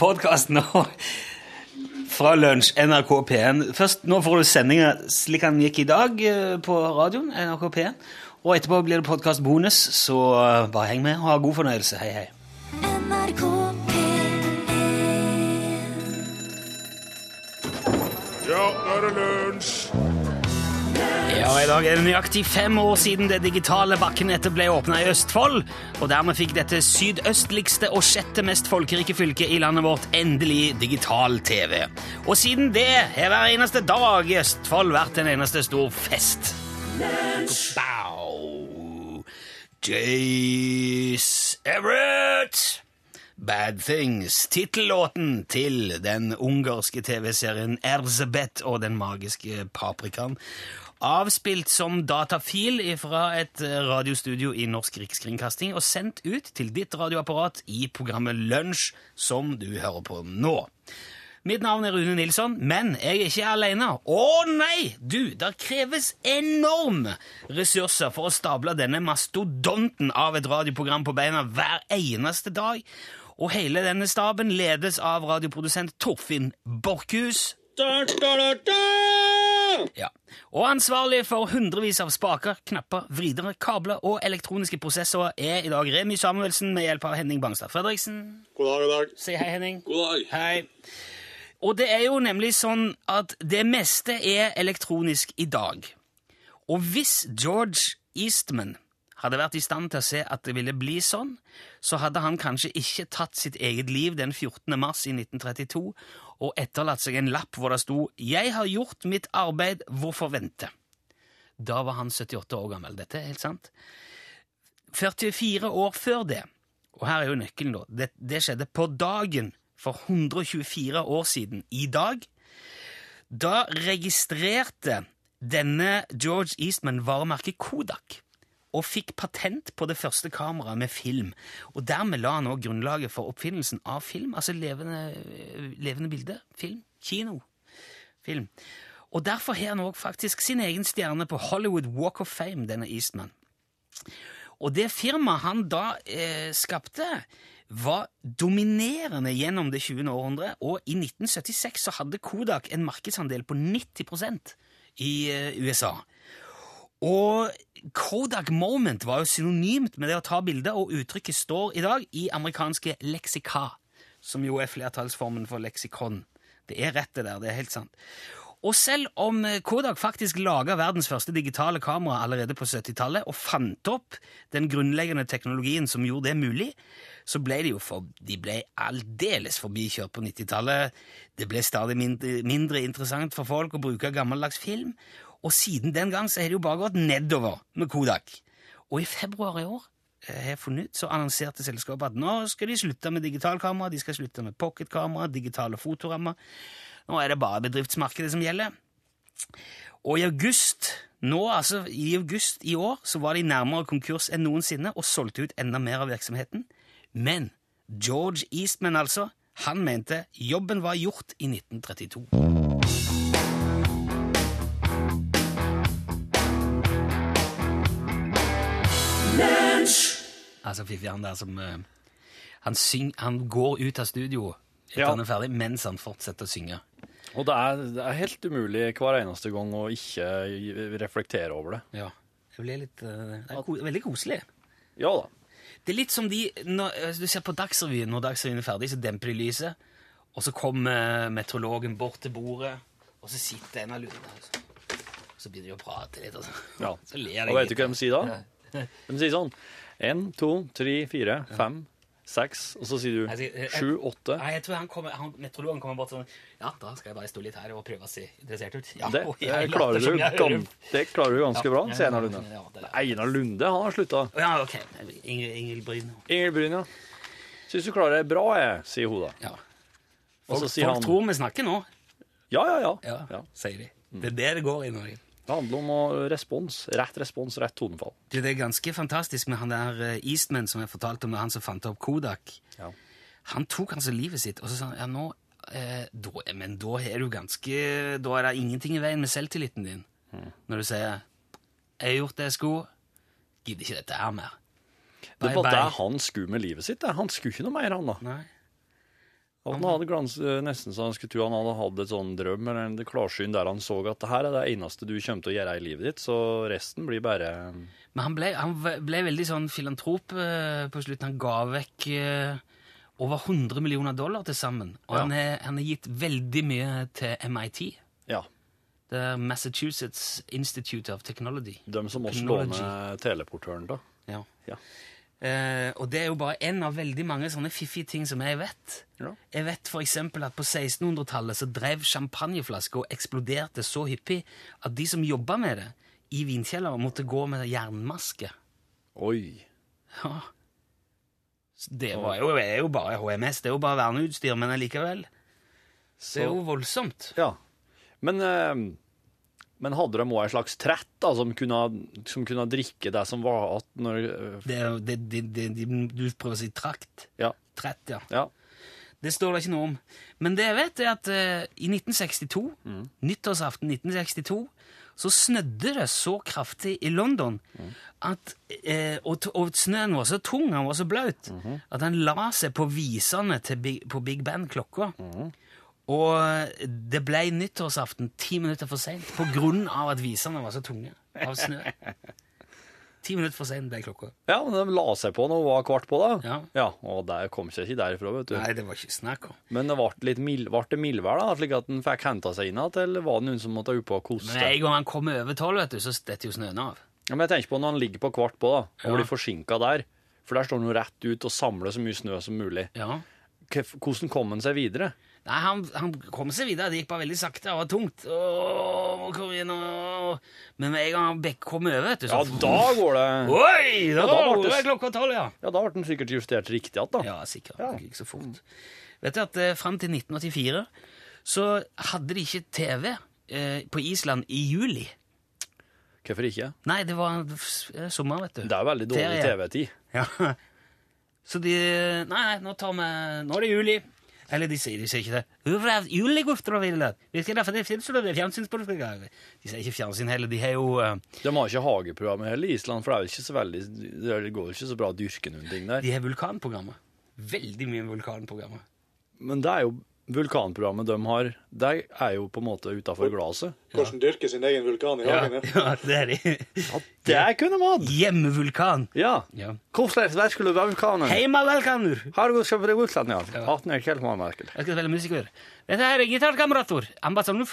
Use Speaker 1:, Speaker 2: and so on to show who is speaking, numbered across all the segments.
Speaker 1: podkasten nå fra lunsj, NRK P1. Først nå får du sendinga slik han gikk i dag eh, på radioen, NRK P1. Og etterpå blir det podkastbonus, så eh, bare heng med og ha god fornøyelse. Hei, hei.
Speaker 2: NRK P1
Speaker 3: Ja, nå er det lunsj!
Speaker 1: Ja, og I dag er det nøyaktig fem år siden det digitale bakkenettet ble åpna i Østfold. Og dermed fikk dette sydøstligste og sjette mest folkerike fylket i landet vårt endelig digital-TV. Og siden det har hver eneste dag i Østfold vært en eneste stor fest. Bow. Jace Everett! Bad Things, tittellåten til den ungarske TV-serien Erzebet og den magiske paprikaen. Avspilt som datafil fra et eh, radiostudio i Norsk Rikskringkasting og sendt ut til ditt radioapparat i programmet Lunsj, som du hører på nå. Mitt navn er Rune Nilsson, men jeg er ikke alene. Å nei! Du, det kreves enorme ressurser for å stable denne mastodonten av et radioprogram på beina hver eneste dag. Og hele denne staben ledes av radioprodusent Torfinn Borchhus. Ja. Og ansvarlig for hundrevis av spaker, knapper, vridere, kabler og elektroniske prosessorer er i dag Remi Samuelsen med hjelp av Henning Bangstad Fredriksen.
Speaker 3: God dag, god dag.
Speaker 1: Si hei, Henning.
Speaker 3: God dag.
Speaker 1: Hei. Og det er jo nemlig sånn at det meste er elektronisk i dag. Og hvis George Eastman hadde vært i stand til å se at det ville bli sånn, så hadde han kanskje ikke tatt sitt eget liv den 14. mars i 1932 og etterlatt seg en lapp hvor det sto 'Jeg har gjort mitt arbeid, hvorfor vente?' Da var han 78 år gammel. Dette er helt sant. 44 år før det, og her er jo nøkkelen, da det, det skjedde på dagen for 124 år siden i dag. Da registrerte denne George Eastman varemerket Kodak og fikk patent på det første kameraet med film. Og dermed la han også grunnlaget for oppfinnelsen av film, altså levende, levende bilder, film, kino, film. Og derfor har han også faktisk sin egen stjerne på Hollywood Walk of Fame, denne Eastman. Og det firmaet han da eh, skapte, var dominerende gjennom det 20. århundret, og i 1976 så hadde Kodak en markedsandel på 90 i eh, USA. Og Kodak Moment var jo synonymt med det å ta bilder, og uttrykket står i dag i amerikanske leksika, som jo er flertallsformen for leksikon. Det er rett det der, det er helt sant. Og selv om eh, Kodak faktisk laga verdens første digitale kamera allerede på 70-tallet, og fant opp den grunnleggende teknologien som gjorde det mulig, så ble de jo for, de ble aldeles forbikjørt på 90-tallet. Det ble stadig mindre, mindre interessant for folk å bruke gammeldags film, og siden den gang så har det jo bare gått nedover med Kodak. Og i februar i år eh, har jeg funnet ut, så annonserte selskapet at nå skal de slutte med digitalkamera, de skal slutte med pocketkamera, digitale fotorammer. Nå er det bare bedriftsmarkedet som gjelder. Og i august nå, altså i august i år så var de nærmere konkurs enn noensinne og solgte ut enda mer av virksomheten. Men George Eastman, altså, han mente jobben var gjort i 1932. Altså Fiffi, han der som eh, han, syng, han går ut av studio etter
Speaker 4: Ja.
Speaker 1: han er ferdig, mens han fortsetter å synge.
Speaker 4: Og det er, det er helt umulig hver eneste gang å ikke reflektere over det.
Speaker 1: Ja. Det blir litt eh, det er ko Veldig koselig.
Speaker 4: Ja da.
Speaker 1: Det er litt som de når, eh, Du ser på Dagsrevyen, når Dagsrevyen er ferdig, så demper de lyset, og så kommer eh, meteorologen bort til bordet, og så sitter en av lurene her sånn. Så begynner de å prate litt, og så,
Speaker 4: Ja.
Speaker 1: så ler de.
Speaker 4: Og vet du
Speaker 1: litt.
Speaker 4: hva de sier da? De sier sånn én, to, tre, fire, fem, seks, og så sier
Speaker 1: Jeg sier, eh,
Speaker 4: du sju, åtte.
Speaker 1: Nei, jeg tror han kommer, han, meteorologen kommer bort sånn Ja, da skal jeg bare stå litt her og prøve å se interessert ut. Ja,
Speaker 4: Det
Speaker 1: og jeg
Speaker 4: eh,
Speaker 1: later
Speaker 4: klarer
Speaker 1: som
Speaker 4: du,
Speaker 1: jeg hører-
Speaker 4: gam- det klarer du ganske bra,
Speaker 1: Ja,
Speaker 4: sier Einar
Speaker 1: ja,
Speaker 4: Lunde.
Speaker 1: ja, det er-
Speaker 4: Einar Lunde, han har slutta.
Speaker 1: Å, Ja, ok. Ingrid, Ingrid Bryn.
Speaker 4: Ingrid Bryn, ja. Syns du klarer det bra, jeg, sier hun da.
Speaker 1: Ja.
Speaker 4: Og
Speaker 1: Folk,
Speaker 4: så sier
Speaker 1: folk
Speaker 4: han
Speaker 1: tror vi snakker nå.
Speaker 4: ja, ja, ja, Mm.
Speaker 1: Ja,
Speaker 4: ja.
Speaker 1: sier de. Det er det det går i Norge.
Speaker 4: Det handler om å- respons. Rett respons, rett tonefall.
Speaker 1: Du, Det er ganske fantastisk med han der eh, Eastman som jeg fortalte om, han som fant opp Kodak.
Speaker 4: Ja.
Speaker 1: Han tok altså livet sitt, og så sa han ja, nå eh, da, Men da er du ganske Da er det ingenting i veien med selvtilliten din.
Speaker 4: Mm.
Speaker 1: Når du sier 'Jeg har gjort det jeg skulle. Gidder ikke dette her mer'.
Speaker 4: Det
Speaker 1: Bye,
Speaker 4: var
Speaker 1: bye.
Speaker 4: det han skulle med livet sitt. det. Han skulle ikke noe mer, han da.
Speaker 1: Nei.
Speaker 4: At han hadde glans, eh, nesten så han skulle tro han hadde hatt et sånn drøm eller en klarsyn der han så at det her er det eneste du kommer til å gjøre i livet ditt, så resten blir bare
Speaker 1: Men han ble, han v- ble veldig sånn filantrop eh, på slutten. Han ga vekk eh, over 100 millioner dollar til sammen. Og
Speaker 4: Ja.
Speaker 1: han, er, han er gitt veldig mye til MIT.
Speaker 4: Ja.
Speaker 1: Det er Massachusetts Institute of Technology.
Speaker 4: De som også lå
Speaker 1: Technology.
Speaker 4: med teleportøren, da.
Speaker 1: Ja.
Speaker 4: Ja.
Speaker 1: Eh, og det er jo bare én av veldig mange sånne fiffige ting som jeg vet.
Speaker 4: Ja.
Speaker 1: Jeg vet for eksempel at på 1600-tallet så drev champagneflasker og eksploderte så hyppig at de som jobba med det i vinkjellere, måtte gå med jernmaske.
Speaker 4: Oi.
Speaker 1: Ja. Så Det var jo, er jo bare HMS, det er jo bare verneutstyr, men allikevel. Det er jo voldsomt.
Speaker 4: Ja. Men, eh, men hadde de òg en slags trett da, som kunne, som kunne drikke det som var at når eh,
Speaker 1: Det, er jo- det, det, det, det, du prøver å si trakt.
Speaker 4: Ja.
Speaker 1: Trett, ja.
Speaker 4: ja.
Speaker 1: Det står det ikke noe om. Men det jeg vet, er at eh, i 1962, nyttårsaften 1962, så snødde det så kraftig i London at eh, og, t- og snøen var så tung, han var så blaut, at han la seg på visene til Big, på Big Band-klokka. Og eh, det ble nyttårsaften ti minutter for seint på grunn av at visene var så tunge av snø. Ti minutter for seint ble klokka.
Speaker 4: ja, men de la seg på når det var kvart på, da.
Speaker 1: Ja.
Speaker 4: Og der kom seg ikke derifra, vet du.
Speaker 1: Nei, det var ikke snakk om.
Speaker 4: Men det ble litt mild, ble det mildvær, da, slik at en fikk henta seg inn igjen, eller var det noen som måtte opp og koste?
Speaker 1: Men en gang han kommer over tolv, vet du, så detter jo snøen av.
Speaker 4: Ja, men jeg tenker på når han ligger på kvart på, da, og
Speaker 1: Ja.
Speaker 4: blir forsinka der. For der står han jo rett ut og samler så mye snø som mulig.
Speaker 1: Ja.
Speaker 4: Hva- Hvordan kom han seg videre?
Speaker 1: Nei, han, han kom seg videre. Det gikk bare veldig sakte. Det var tungt. Åh, kom igjen, åh. Men med en gang han Bekk kom over, vet du,
Speaker 4: Ja,
Speaker 1: så
Speaker 4: da går det
Speaker 1: Oi! Da,
Speaker 4: Ja, da ble
Speaker 1: var det
Speaker 4: det-
Speaker 1: klokka tolv, ja.
Speaker 4: Ja, da ble han sikkert justert riktig igjen, da.
Speaker 1: Ja, sikkert. Det gikk så fort. Vet du at eh, fram til 1984 så hadde de ikke TV eh, på Island i juli.
Speaker 4: Hvorfor ikke?
Speaker 1: Nei, det var eh, sommer, vet du.
Speaker 4: Det er veldig dårlig
Speaker 1: Ferie.
Speaker 4: TV-tid.
Speaker 1: Ja. Så de Nei, nei, nå tar vi Nå er det juli. Eller de sier, de sier ikke det. Hvorfor er juli gutter og viller? Virker det for det finnes jo det fjernsynsprogrammet? De sier ikke fjernsyn heller. De har jo eh,
Speaker 4: De har ikke hageprogram heller i Island, for det, er jo ikke så veldig, det går jo ikke så bra å dyrke noen ting der.
Speaker 1: De har vulkanprogrammet. Veldig mye vulkanprogrammet.
Speaker 4: Men det er jo vulkanprogrammet de har, det er jo på en måte utafor glasset.
Speaker 2: Hvordan dyrke sin egen vulkan i hagen? ja.
Speaker 1: ja det er de.
Speaker 4: Ja, det kunne man!
Speaker 1: Hjemmevulkan.
Speaker 4: Ja.
Speaker 1: Ja.
Speaker 4: Hvordan vær skulle vulkanen?
Speaker 1: Heimavulkaner.
Speaker 4: Har du skal bruke utlandet, ja.
Speaker 1: Ja.
Speaker 4: 18 er ikke helt mannmerkelig.
Speaker 1: Jeg skal spille musiker. Dette her er gitarkamerater. Ambassadør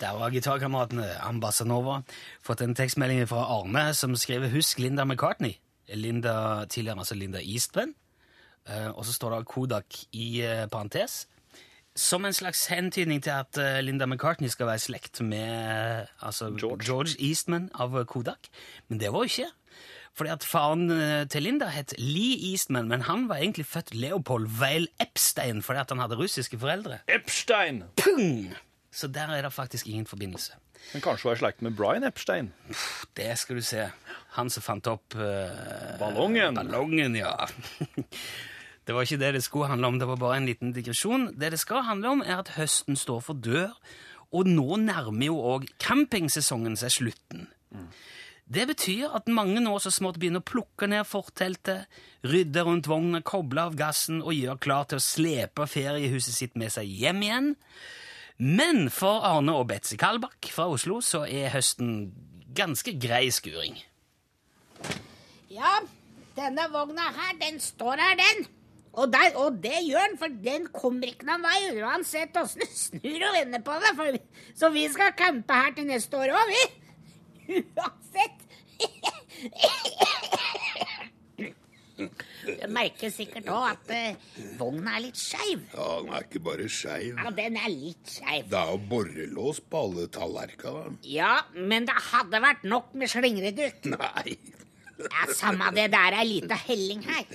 Speaker 1: Der var gitarkameratene Ambassanova. Fått en tekstmelding fra Arne som skriver 'Husk Linda McCartney'. Linda, tidligere altså Linda Eastman. Eh, og så står det Kodak i eh, parentes. Som en slags hentydning til at eh, Linda McCartney skal være i slekt med eh, altså, George.
Speaker 4: George.
Speaker 1: Eastman av eh, Kodak. Men det var jo ikke. Fordi at faren eh, til Linda het Lee Eastman, men han var egentlig født Leopold Weil Epstein fordi at han hadde russiske foreldre.
Speaker 4: Epstein!
Speaker 1: Pung! Så der er det faktisk ingen forbindelse.
Speaker 4: Men kanskje hun er i slekt med Brian Epstein?
Speaker 1: Det skal du se. Han som fant opp eh,
Speaker 4: Ballongen.
Speaker 1: Ballongen, ja. Det var ikke det det skulle handle om, det var bare en liten digresjon. Det det skal handle om, er at høsten står for dør, og nå nærmer jo òg campingsesongen seg slutten. Det betyr at mange nå så smått begynner å plukke ned forteltet, rydde rundt vogna, koble av gassen og gjøre klar til å slepe feriehuset sitt med seg hjem igjen. Men for Arne og Betzy Kalbakk fra Oslo så er høsten ganske grei skuring.
Speaker 5: Ja, denne vogna her, den står her, den. Og, der, og det gjør den, for den kommer ikke noen vei uansett åssen du snur og vender på det. For, vi- så vi skal campe her til neste år òg, vi. Uansett. Du merker sikkert òg at eh, vogna er litt skeiv.
Speaker 3: Ja, den er ikke bare skeiv.
Speaker 5: Ja, den er litt skeiv.
Speaker 3: Det er jo borrelås på alle tallerkenene.
Speaker 5: Ja, men det hadde vært nok med slingredutt.
Speaker 3: Nei.
Speaker 5: Ja, samme det. Det er ei lita helling her.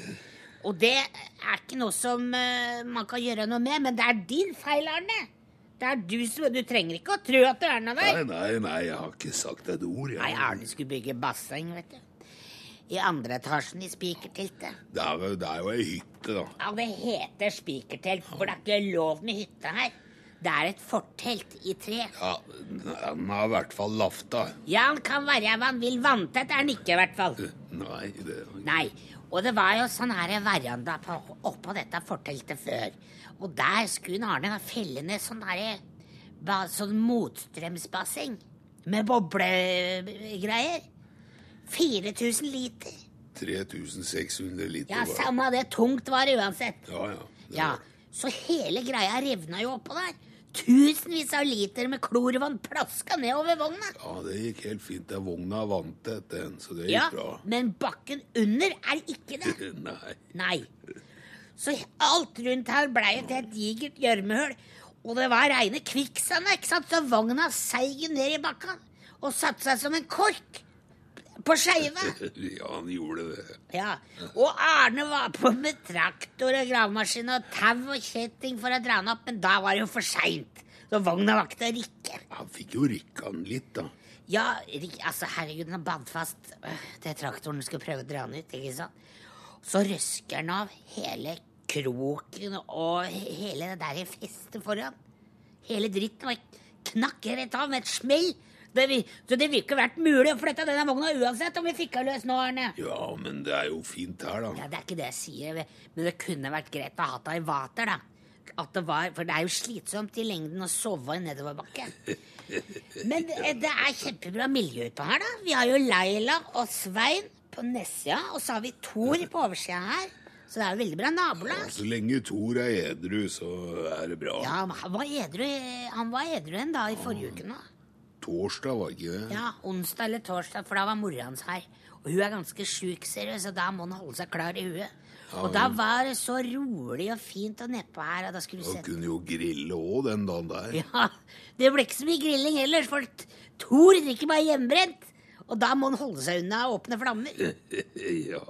Speaker 5: Og det er ikke noe som eh, man kan gjøre noe med, men det er din feil, Arne. Det er du som Du trenger ikke å tro at det er noe der.
Speaker 3: Nei, nei, nei, jeg har ikke sagt et ord. Jeg.
Speaker 5: Nei, Arne skulle bygge basseng, vet du. I andre etasjen i spikerteltet.
Speaker 3: Det er, jo- det er jo ei hytte, da.
Speaker 5: Ja, det heter spikertelt, for det er ikke lov med hytte her. Det er et fortelt i tre.
Speaker 3: Ja, den har i hvert fall lafta.
Speaker 5: Ja, han kan være hva han vil. Vanntett er han ikke, i hvert fall.
Speaker 3: Nei, det
Speaker 5: Nei. Og det var jo sånn her veranda på, oppå dette forteltet før. Og der skulle en Arne da felle ned sånn her ba- sånn motstrømsbasseng med boblegreier. 4000 liter.
Speaker 3: 3600 liter
Speaker 5: Ja,
Speaker 3: var det.
Speaker 5: samme det. Tungt var det uansett.
Speaker 3: Ja, ja. Det
Speaker 5: Ja,
Speaker 3: var-
Speaker 5: så hele greia revna jo oppå der. Tusenvis av liter med klorvann plaska nedover vogna.
Speaker 3: ja, det gikk helt fint. Den vogna vant etter den, så det gikk
Speaker 5: Ja,
Speaker 3: bra.
Speaker 5: men bakken under er ikke det.
Speaker 3: Nei.
Speaker 5: Nei. Så alt rundt her blei jo til et digert gjørmehull. Og det var reine kvikksand, ikke sant? Så vogna seig ned i bakka og satte seg som en kork på skeiva.
Speaker 3: Ja, han gjorde det.
Speaker 5: Ja, og Arne var på med traktor og gravemaskin og tau og kjetting for å dra den opp, men da var det jo for seint. Så vogna var ikke til å rikke.
Speaker 3: Han fikk jo rikka den litt, da.
Speaker 5: Ja, rik- altså herregud, den bandt fast øh, til traktoren skulle prøve å dra den ut, ikke sant? Så røsker den av hele kroken og he- hele det der festet foran. Hele dritten var knakk rett av med et smell. Det, vi- så det ville ikke vært mulig å flytte denne vogna uansett om vi fikk den løs nå, Arne.
Speaker 3: Ja, men det er jo fint her,
Speaker 5: Ja,
Speaker 3: da.
Speaker 5: Det er ikke det jeg sier, men det kunne vært greit å ha hatt det i vater, da. At det var, for det er jo slitsomt i lengden å sove i nedoverbakke. Men eh, det er kjempebra miljø utpå her, da. Vi har jo Leila og Svein på nedsida, og så har vi Thor på oversida her. Så det er jo veldig bra
Speaker 3: Ja,
Speaker 5: nabolag.
Speaker 3: så lenge Thor er edru, så er det bra.
Speaker 5: Ja, han var edru, han var edru en dag i forrige uke nå.
Speaker 3: Torsdag, var ikke det?
Speaker 5: Ja, onsdag eller torsdag, for da var mora hans her. Og hun er ganske sjuk, ser du, så da må han holde seg klar i huet. Og da var det så rolig og fint og nedpå her, og da skulle du
Speaker 3: Han
Speaker 5: sett
Speaker 3: kunne jo grille òg den dagen der.
Speaker 5: Ja, det ble ikke så mye grilling ellers, for Thor drikker bare hjemmebrent. Og da må han holde seg unna åpne flammer.
Speaker 3: Ja,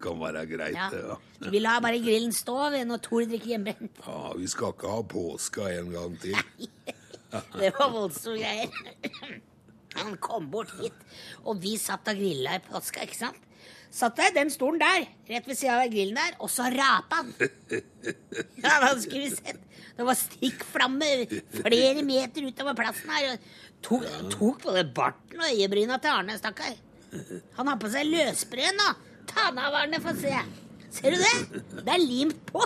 Speaker 3: kan være greit,
Speaker 5: Ja.
Speaker 3: det. Ja.
Speaker 5: Vi lar bare grillen stå ved når Thor drikker hjemmebrent.
Speaker 3: ja, Vi skal ikke ha påska en gang til.
Speaker 5: Det var voldsomme greier. Han kom bort hit, og vi satt og grilla i påska, ikke sant? Satt der, den stolen der, rett ved sida av grillen der, og så rapa han. Ja, da skulle vi sett. Det var stikkflammer flere meter utover plassen her. Og to, tok både barten og øyebryna til Arne, stakkar. Han har på seg løsbrød nå. Ta den av, Arne, få se. Ser du det? Det er limt på.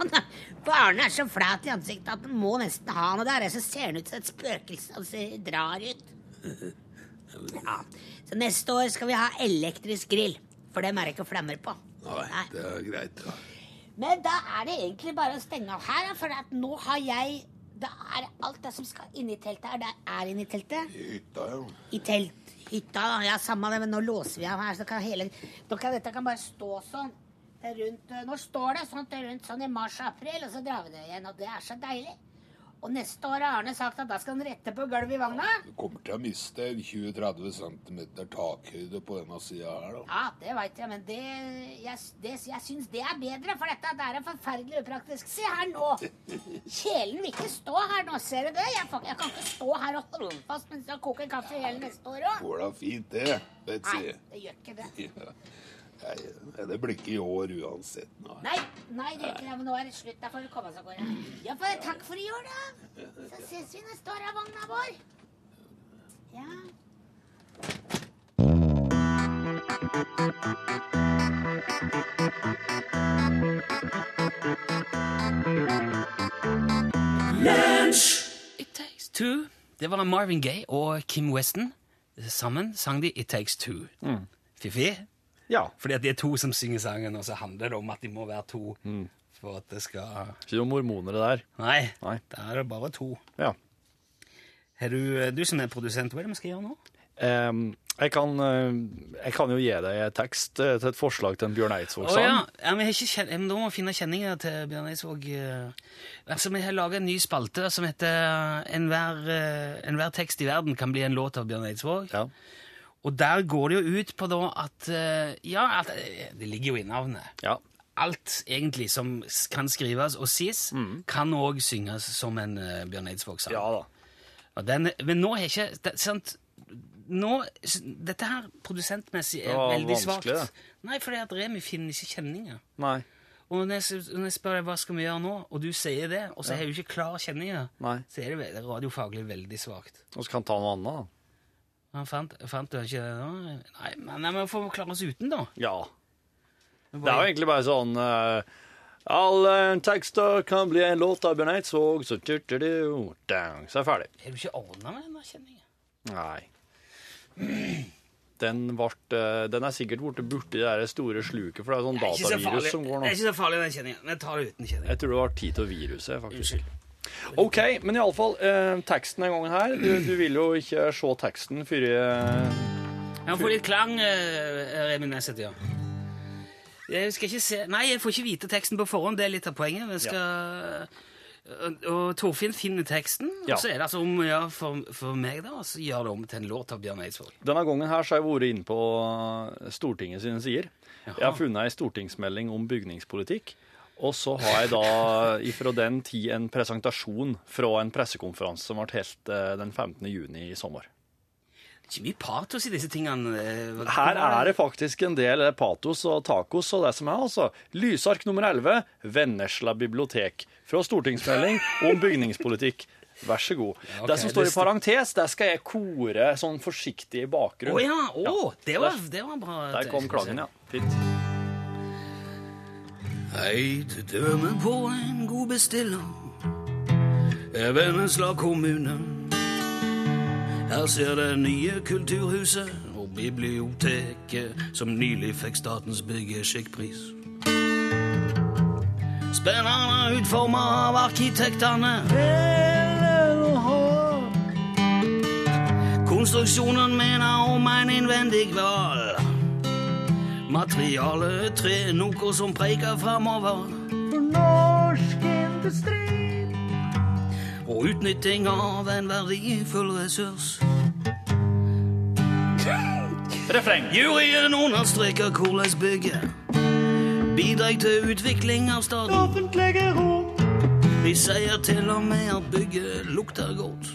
Speaker 5: Han er, for Arne er så flat i ansiktet at han må nesten ha noe der. Så ser han ut som et spøkelse og ser, drar ut. Ja. Så neste år skal vi ha elektrisk grill, for dem er det ikke flammer på.
Speaker 3: Nei, det er greit. Ja.
Speaker 5: Men da er det egentlig bare å stenge av her, da, for at nå har jeg Da er alt det som skal inn i teltet her, det er inn i teltet.
Speaker 3: Hytta, ja.
Speaker 5: I telt, hytta, da. Ja, samme det, men nå låser vi av her, så kan hele da kan, Dette kan bare stå sånn. Det er rundt, eh, nå står det sånt det er rundt sånn i mars-april, og så drar vi det igjen. Og det er så deilig. Og neste år har Arne sagt at da skal han rette på gulvet i vogna.
Speaker 3: Du kommer til å miste 20-30 cm takhøyde på denne sida her, da.
Speaker 5: Ja, det veit jeg, men det jeg, det, jeg syns det er bedre, for dette der er forferdelig upraktisk. Se her nå! Kjelen vil ikke stå her nå, ser du det? Jeg, får- jeg kan ikke stå her og holde fast mens jeg koker kaffe hele neste år òg.
Speaker 3: Går da fint, det.
Speaker 5: Nei,
Speaker 3: Betsy.
Speaker 5: det gjør ikke det.
Speaker 3: Ja. Nei, Det blir ikke i år uansett. Nei.
Speaker 5: Nei, nei, det gjør ikke det, men nå er det slutt. Da får vi komme oss av gårde. Ja, for, takk for i år, da. Så ses vi neste år av vogna vår. Ja.
Speaker 1: It Takes Two. Det var Marvin Gaye og Kim Weston. Sammen sang de It Takes Two. Fiffig.
Speaker 4: Ja.
Speaker 1: Fordi at det er to som synger sangen, og så handler det om at de må være to for at det skal
Speaker 4: Ikke noen mormoner der.
Speaker 1: Nei,
Speaker 4: Nei.
Speaker 1: da er det bare to.
Speaker 4: Ja.
Speaker 1: Er du, eh, du som er produsent, hva er det vi skal gjøre nå?
Speaker 4: Em, jeg, kan, eh, jeg kan jo gi deg et tekst eh, til et forslag til en Bjørn
Speaker 1: Å ja.
Speaker 4: Eidsvåg-sang.
Speaker 1: ja, men jeg har ikke kjen- jeg må- Da må vi finne kjenninger til Bjørn Eidsvåg. eh. Altså, vi har laga en ny spalte som heter enhver, eh, 'Enhver tekst i verden kan bli en låt av Bjørn Eidsvåg'.
Speaker 4: Ja.
Speaker 1: Og der går det jo ut på da at eh, Ja, at, eh, det ligger jo i navnet.
Speaker 4: Ja.
Speaker 1: Alt egentlig som s- kan skrives og sies, kan òg synges som en eh, Bjørn Eidsvåg-sang.
Speaker 4: Mm. ja da.
Speaker 1: Og den, men nå har ikke det, sant, nå, s- Dette her produsentmessig er
Speaker 4: Ja,
Speaker 1: veldig
Speaker 4: vanskelig,
Speaker 1: svakt. Nei, for det er mye finner ikke kjenninger.
Speaker 4: Nei.
Speaker 1: Og når jeg, når jeg spør deg hva skal vi gjøre nå, og du sier det, og så har du ikke klar kjenning, da,
Speaker 4: Nei.
Speaker 1: så er det ve- radiofaglig veldig svakt.
Speaker 4: Og så kan han ta noe annet, da.
Speaker 1: Men Fant, fant du ikke det nå? Nei, men nei, men vi får klare oss uten, da.
Speaker 4: Ja. Det er jo egentlig bare sånn eh, Alle tekster kan bli en låt av Bjørn Eidsvåg, så tjurturu, dang, så er jeg ferdig.
Speaker 1: Har du ikke ordna med den kjenninga?
Speaker 4: Nei. Den, vart, eh, den er sikkert borte borti det der store sluket, for det er sånn
Speaker 1: Det er ikke så
Speaker 4: datavirus
Speaker 1: farlig,
Speaker 4: som går
Speaker 1: Det er
Speaker 4: nå.
Speaker 1: ikke så farlig den kjenninga. Vi tar det uten kjenning.
Speaker 4: Jeg tror det var tid til viruset, faktisk.
Speaker 1: Unnskyld.
Speaker 4: OK, men iallfall eh, teksten en gang her. Du, du vil jo ikke se teksten før eh, jeg
Speaker 1: Jeg får litt klang, eh, Remi Nesset, ja. Jeg skal ikke se Nei, jeg får ikke vite teksten på forhånd. Det er litt av poenget. Jeg skal... Og og Torfinn finner teksten,
Speaker 4: Ja.
Speaker 1: og så er det altså om å gjøre for, for meg, da, og så gjør det om til en låt av Bjørn Eidsvåg.
Speaker 4: Denne gangen her så har jeg vært inne på Stortinget sine sider. Jeg har funnet ei stortingsmelding om bygningspolitikk. Og så har jeg da ifra den tid en presentasjon fra en pressekonferanse som ble holdt eh, den 15. juni i sommer.
Speaker 1: Det er Ikke mye patos i disse tingene. eh, hva-
Speaker 4: Her er det faktisk en del patos og tacos og det som er, altså. Lysark nummer 11, Vennesla bibliotek. Fra stortingsmelding om bygningspolitikk. Vær så god.
Speaker 1: ok,
Speaker 4: det som står
Speaker 1: det
Speaker 4: i
Speaker 1: sto-
Speaker 4: parentes, der skal jeg kore sånn forsiktig i
Speaker 1: Å
Speaker 4: bakgrunnen.
Speaker 1: ja! Å, det, var,
Speaker 4: Der-
Speaker 1: det var bra.
Speaker 4: Der kom klangen, ja. Fint.
Speaker 1: Eit døme på en god bestiller er Vennesla kommune. Her ser det nye kulturhuset og biblioteket som nylig fikk Statens byggeskikkpris. Spennende utforma av arkitektene. Konstruksjonen mener om en innvendig hval. Materialet er tre, noe som preker framover. For norsk industri. Og utnytting av en verdifull ressurs.
Speaker 4: Refreng.
Speaker 1: Juryen understreker hvordan bygget bidrar til utvikling av staden. Offentlige rom. De sier til og med at bygget lukter godt.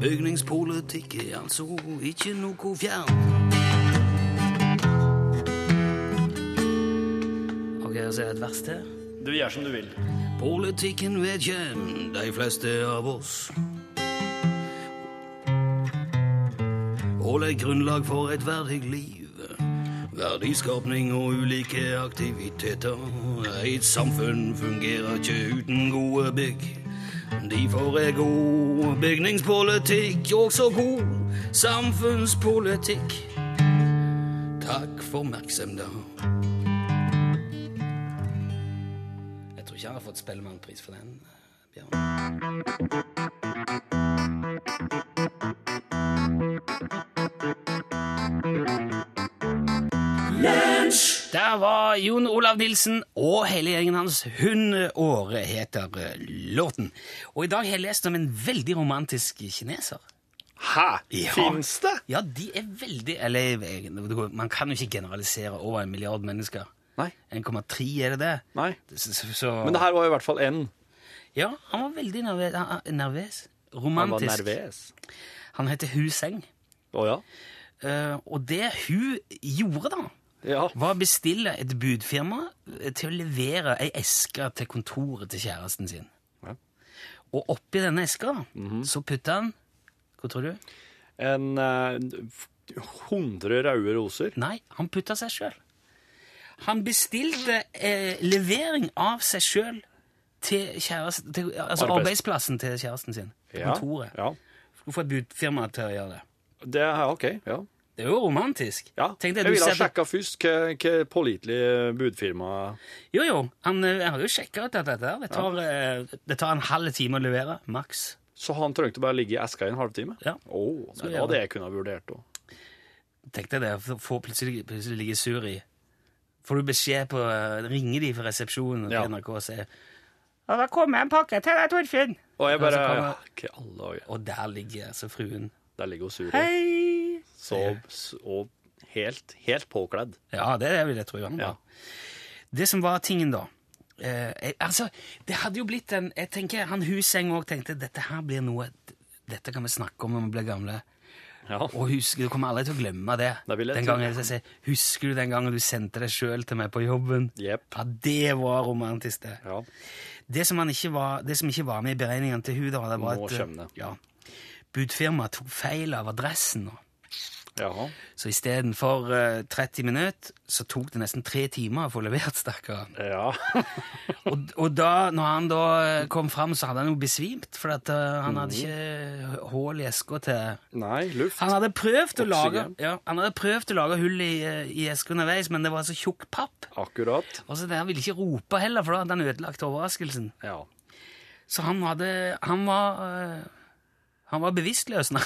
Speaker 1: Bygningspolitikk er altså ikke noe fjern. Ok, og så er det et vers til.
Speaker 4: Du gjør som du vil.
Speaker 1: Politikken vet ikke de fleste av oss. Og legger grunnlag for et verdig liv. Verdiskapning og ulike aktiviteter. Et samfunn fungerer ikke uten gode bygg. Derfor er god bygningspolitikk også god samfunnspolitikk. Takk for oppmerksomheten. Jeg tror ikke han har fått Spellemannpris for den. eh, Bjørn. Der var Jon Olav Nilsen og hele gjengen hans. 'Hundeåret' heter eh, låten. Og i dag har jeg lest om en veldig romantisk kineser.
Speaker 4: Hæ?
Speaker 1: Ja.
Speaker 4: Fins det?
Speaker 1: Ja, de er veldig Eller jeg- man kan jo ikke generalisere over en milliard mennesker.
Speaker 4: Nei.
Speaker 1: 1,3 er det det?
Speaker 4: Nei.
Speaker 1: Så, så- så,
Speaker 4: Men det her var i hvert fall en.
Speaker 1: Ja, han var veldig nervøs. Han, han- nervøs. Romantisk. Han, heter Hu Seng.
Speaker 4: Å ja.
Speaker 1: Eh, og det hun gjorde, da,
Speaker 4: ja.
Speaker 1: var å bestille et budfirma eh, til å levere ei eske til kontoret til kjæresten sin.
Speaker 4: Ja. Mhm.
Speaker 1: Og oppi denne eska da, så putta han Hva tror du?
Speaker 4: En eh, hundre røde roser.
Speaker 1: Nei, han putta seg sjøl. Han bestilte eh, levering av seg sjøl til, kjæresten- til altså
Speaker 4: Arbeids-
Speaker 1: arbeidsplassen til kjæresten sin. Til kontoret.
Speaker 4: Ja.
Speaker 1: Skulle få et budfirma til å gjøre det.
Speaker 4: Det er OK. Ja.
Speaker 1: Det er jo romantisk.
Speaker 4: ja.
Speaker 1: Tenk deg,
Speaker 4: jeg
Speaker 1: du
Speaker 4: ville ha
Speaker 1: ser på-
Speaker 4: sjekka først hva, hva pålitelig budfirma
Speaker 1: Jo, jo, han eh, har jo sjekka ut dette her. Det tar, eh, det tar en halv time å levere, maks.
Speaker 4: Så han trengte bare ligge i eska i en halvtime?
Speaker 1: Ja.
Speaker 4: Å,
Speaker 1: Så
Speaker 4: det
Speaker 1: gjør
Speaker 4: var
Speaker 1: det.
Speaker 4: det jeg kunne ha vurdert òg.
Speaker 1: Tenk deg det, å få plutselig, plutselig ligge sur i. Får du beskjed på eh, Ringer de fra resepsjonen
Speaker 4: Ja.
Speaker 1: til NRK og sier Ja, da kommer en pakke til deg, Torfinn.
Speaker 4: Og jeg bare
Speaker 1: Ja, så kan
Speaker 4: ja,
Speaker 1: man-
Speaker 4: Hva i alle dager.
Speaker 1: Og der ligger altså fruen.
Speaker 4: Der ligger hun sur og
Speaker 1: Hei!
Speaker 4: så, og helt, helt påkledd.
Speaker 1: Ja, det er vil jeg tro han
Speaker 4: Ja.
Speaker 1: var. Det som var tingen, da eh, jeg, Altså, det hadde jo blitt en Jeg tenker, Han Huseng òg tenkte dette her blir noe Dette kan vi snakke om når vi blir gamle.
Speaker 4: Ja.
Speaker 1: Og husker, du kommer aldri til å glemme det.
Speaker 4: Det vil jeg
Speaker 1: den
Speaker 4: tro.
Speaker 1: gangen, jeg sier, husker du den gangen du sendte deg sjøl til meg på jobben?
Speaker 4: Jep.
Speaker 1: Ja, det var romantisk, det.
Speaker 4: Ja.
Speaker 1: Det som, han ikke var, det som ikke var med i beregningene til hun, da, det var
Speaker 4: Nå
Speaker 1: at eh,
Speaker 4: kommer det.
Speaker 1: ja, budfirmaet tok feil av adressen. og-
Speaker 4: Jaha.
Speaker 1: Så istedenfor uh, 30 minutter, så tok det nesten tre timer å få levert, stakkaren.
Speaker 4: Ja.
Speaker 1: Og, og da når han da eh, kom fram, så hadde han jo besvimt, for at, eh, han
Speaker 4: Mm.
Speaker 1: hadde ikke hull i eska til
Speaker 4: Nei, luft.
Speaker 1: han hadde prøvd å lage,
Speaker 4: Oksygen.
Speaker 1: ja, han hadde prøvd å lage hull i, eh, i esker underveis, men det var så tjukk papp.
Speaker 4: Akkurat.
Speaker 1: Og så det, Han ville ikke rope heller, for da hadde han ødelagt overraskelsen.
Speaker 4: Ja.
Speaker 1: Så han, hadde, han var eh, han var bevisstløs når,